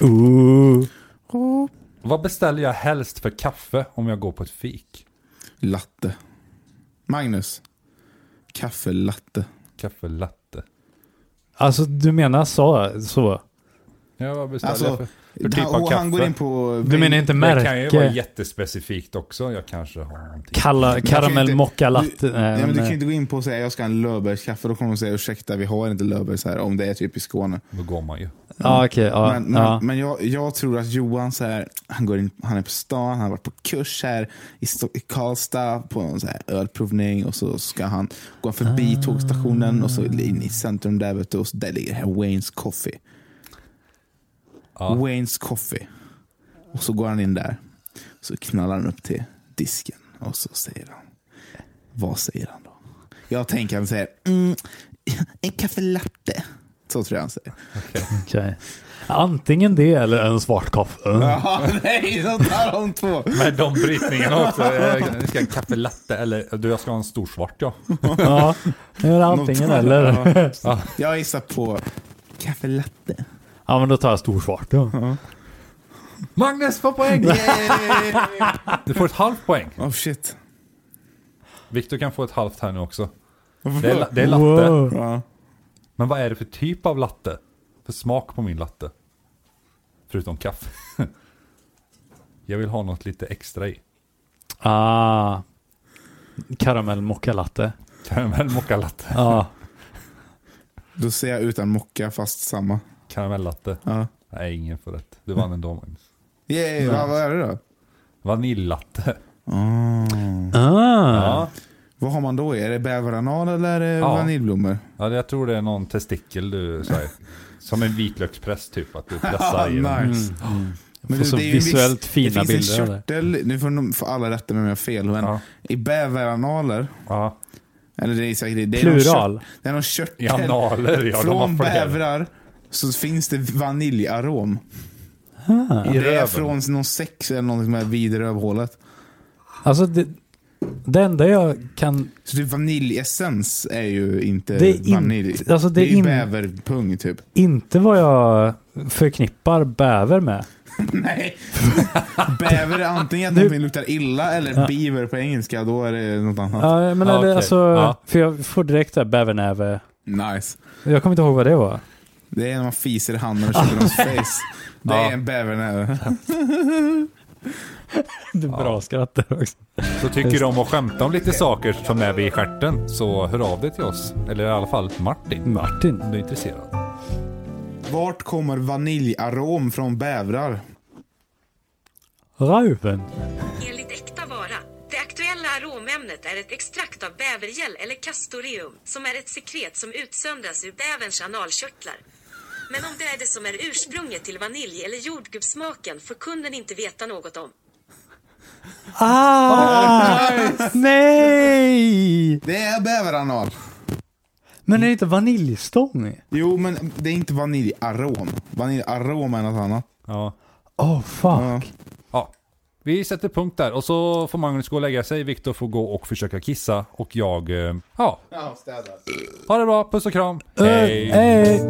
Speaker 3: Ooh.
Speaker 1: Vad beställer jag helst för kaffe om jag går på ett fik?
Speaker 2: Latte. Magnus. Kaffelatte.
Speaker 1: Kaffe latte.
Speaker 3: Alltså du menar så? så.
Speaker 1: Ja, vad beställer
Speaker 2: Alltså,
Speaker 1: jag för? för typ
Speaker 2: han,
Speaker 1: av
Speaker 2: och han går
Speaker 1: kaffe?
Speaker 2: in på...
Speaker 3: Du menar inte
Speaker 1: Det kan ju vara
Speaker 3: märke?
Speaker 1: jättespecifikt också. Jag kanske har någonting.
Speaker 3: Kalla,
Speaker 2: kan ju
Speaker 3: karamell
Speaker 2: inte-
Speaker 3: mocka latte?
Speaker 2: Du, nej, men du kan ju
Speaker 3: nej.
Speaker 2: inte gå in på och säga jag ska ha en Löfbergskaffe. Då kommer de säga ursäkta vi har inte Löfbergs här. Om det är typ i Skåne.
Speaker 1: Då går man ju.
Speaker 3: Ja okej, ja.
Speaker 2: men men,
Speaker 3: ja.
Speaker 2: men jag, jag tror att Johan så här, han, går in, han är på stan, han har varit på kurs här i, Sto- i Karlstad på en så här ölprovning och så ska han gå
Speaker 3: Ah.
Speaker 2: förbi tågstationen och så in i centrum där vet du, och så där ligger här Wayne's Coffee.
Speaker 1: Ja.
Speaker 2: Wayne's Coffee. Och så går han in där. Så knallar han upp till disken och så säger han. Vad säger han då? Jag tänker han säger mm, en kaffelatte. Så tror jag han säger.
Speaker 3: Okej. Antingen det eller en svart kaffe.
Speaker 2: Ja, *laughs* nej, de tar de två.
Speaker 1: Men de brytningarna *laughs* också. Eh, Ni ska ha kaffe latte eller du, jag ska ha en stor svart ja.
Speaker 2: *laughs*
Speaker 3: Ja, det är antingen eller.
Speaker 2: Jag gissar på kaffelatte.
Speaker 3: Ja men då tar jag stor svart. Ja.
Speaker 1: Magnus får poäng! *laughs* Du får ett halvt poäng.
Speaker 2: Oh shit.
Speaker 1: Viktor kan få ett halvt här nu också. Det är, la- det är latte.
Speaker 3: Wow.
Speaker 2: Ja.
Speaker 1: Men vad är det för typ av latte? För smak på min latte? Förutom kaffe. *laughs* Jag vill ha något lite extra i.
Speaker 3: Ah. Karamell mocka latte.
Speaker 1: Karamell mocca latte.
Speaker 3: Ja.
Speaker 2: Då ser jag utan mocka fast samma.
Speaker 1: Karamell latte.
Speaker 2: Ja.
Speaker 1: Nej, ingen får rätt. Du vann ändå Magnus.
Speaker 2: Yay, vad, vad är det då?
Speaker 1: Vaniljlatte.
Speaker 3: Ah.
Speaker 1: Ja.
Speaker 2: Vad har man då? Är det bäveranan eller är det
Speaker 1: Ja.
Speaker 2: vaniljblommor?
Speaker 1: ja, det- jag tror det är någon testikel du säger. Som en vitlökspress typ, att du pressar
Speaker 2: Ah,
Speaker 1: i den.
Speaker 2: *laughs* nice. Men
Speaker 3: Mm. Får så
Speaker 2: ju en viss-
Speaker 3: visuellt fina
Speaker 2: det finns
Speaker 3: bilder av
Speaker 2: En
Speaker 3: det.
Speaker 2: körtel, nu får, de- får alla rätta mig om jag har fel. Men
Speaker 1: Ja.
Speaker 2: I bäveranaler,
Speaker 1: Ja.
Speaker 2: eller det är säkert det. det är någon
Speaker 3: Plural.
Speaker 2: kört- Det är någon körtel.
Speaker 1: I analer, ja.
Speaker 2: från
Speaker 1: de har fler.
Speaker 2: bävrar så finns det vaniljarom.
Speaker 3: Ah.
Speaker 2: Och
Speaker 1: I
Speaker 2: det är
Speaker 1: röven.
Speaker 2: från någon sex eller någonting med vid rövhålet.
Speaker 3: Alltså det, det enda jag kan...
Speaker 2: Så typ vaniljessens är ju inte
Speaker 3: Det är inte-
Speaker 2: vanilj.
Speaker 3: alltså det är
Speaker 2: det är ju
Speaker 3: in-
Speaker 2: bäverpung typ. *laughs*
Speaker 3: Inte vad jag förknippar bäver med.
Speaker 2: Nej. Bäver är antingen att
Speaker 3: *laughs* Nu-
Speaker 2: någonting luktar illa eller beaver på engelska. Då är det något annat.
Speaker 3: Ja, men
Speaker 1: Ja,
Speaker 3: eller,
Speaker 1: okej.
Speaker 3: alltså,
Speaker 1: Ja.
Speaker 3: För jag får direkt där bävernäve.
Speaker 2: Nice.
Speaker 3: Jag kommer inte ihåg vad det var.
Speaker 2: Det är när man fiser i handen och
Speaker 3: *laughs*
Speaker 2: köper någons face. Det
Speaker 1: Ja.
Speaker 2: är en bävernäve.
Speaker 3: Det är bra skratt där också.
Speaker 1: Så tycker du om att skämta om lite saker som är vid stjärten så hör av dig till oss. Eller i alla fall Martin.
Speaker 3: Martin.
Speaker 1: Om du är intresserad.
Speaker 2: Vart kommer vaniljarom från bävrar?
Speaker 3: Rauven.
Speaker 6: Enligt Äkta Vara. Det aktuella aromämnet är ett extrakt av bävergäll eller castoreum som är ett sekret som utsöndras ur bäverns analkörtlar. Men om det är det som är ursprunget till vanilj eller jordgubbssmaken får kunden inte veta något om.
Speaker 3: Ah! Nej!
Speaker 2: Det är bäveranal.
Speaker 3: Men är det inte vaniljstång?
Speaker 2: Jo, men det är inte vaniljarom. Vaniljarom är något annat.
Speaker 1: Ja.
Speaker 3: Oh fuck.
Speaker 1: ja. Vi sätter punkt där och så får Magnus gå och lägga sig. Viktor får gå och försöka kissa och jag... eh, Ja,
Speaker 2: Ja, städar.
Speaker 1: ha det bra. Puss och kram.
Speaker 3: Eh, eh.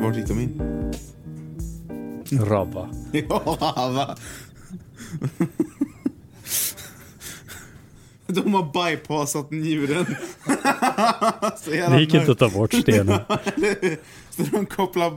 Speaker 2: Vart gick de in? *laughs*
Speaker 3: Rabba.
Speaker 2: Ja, va? De har bypassat njuren. *laughs* Så jävla
Speaker 3: Det gick inte att ta bort stenen.
Speaker 2: nöjd. Så de kopplar...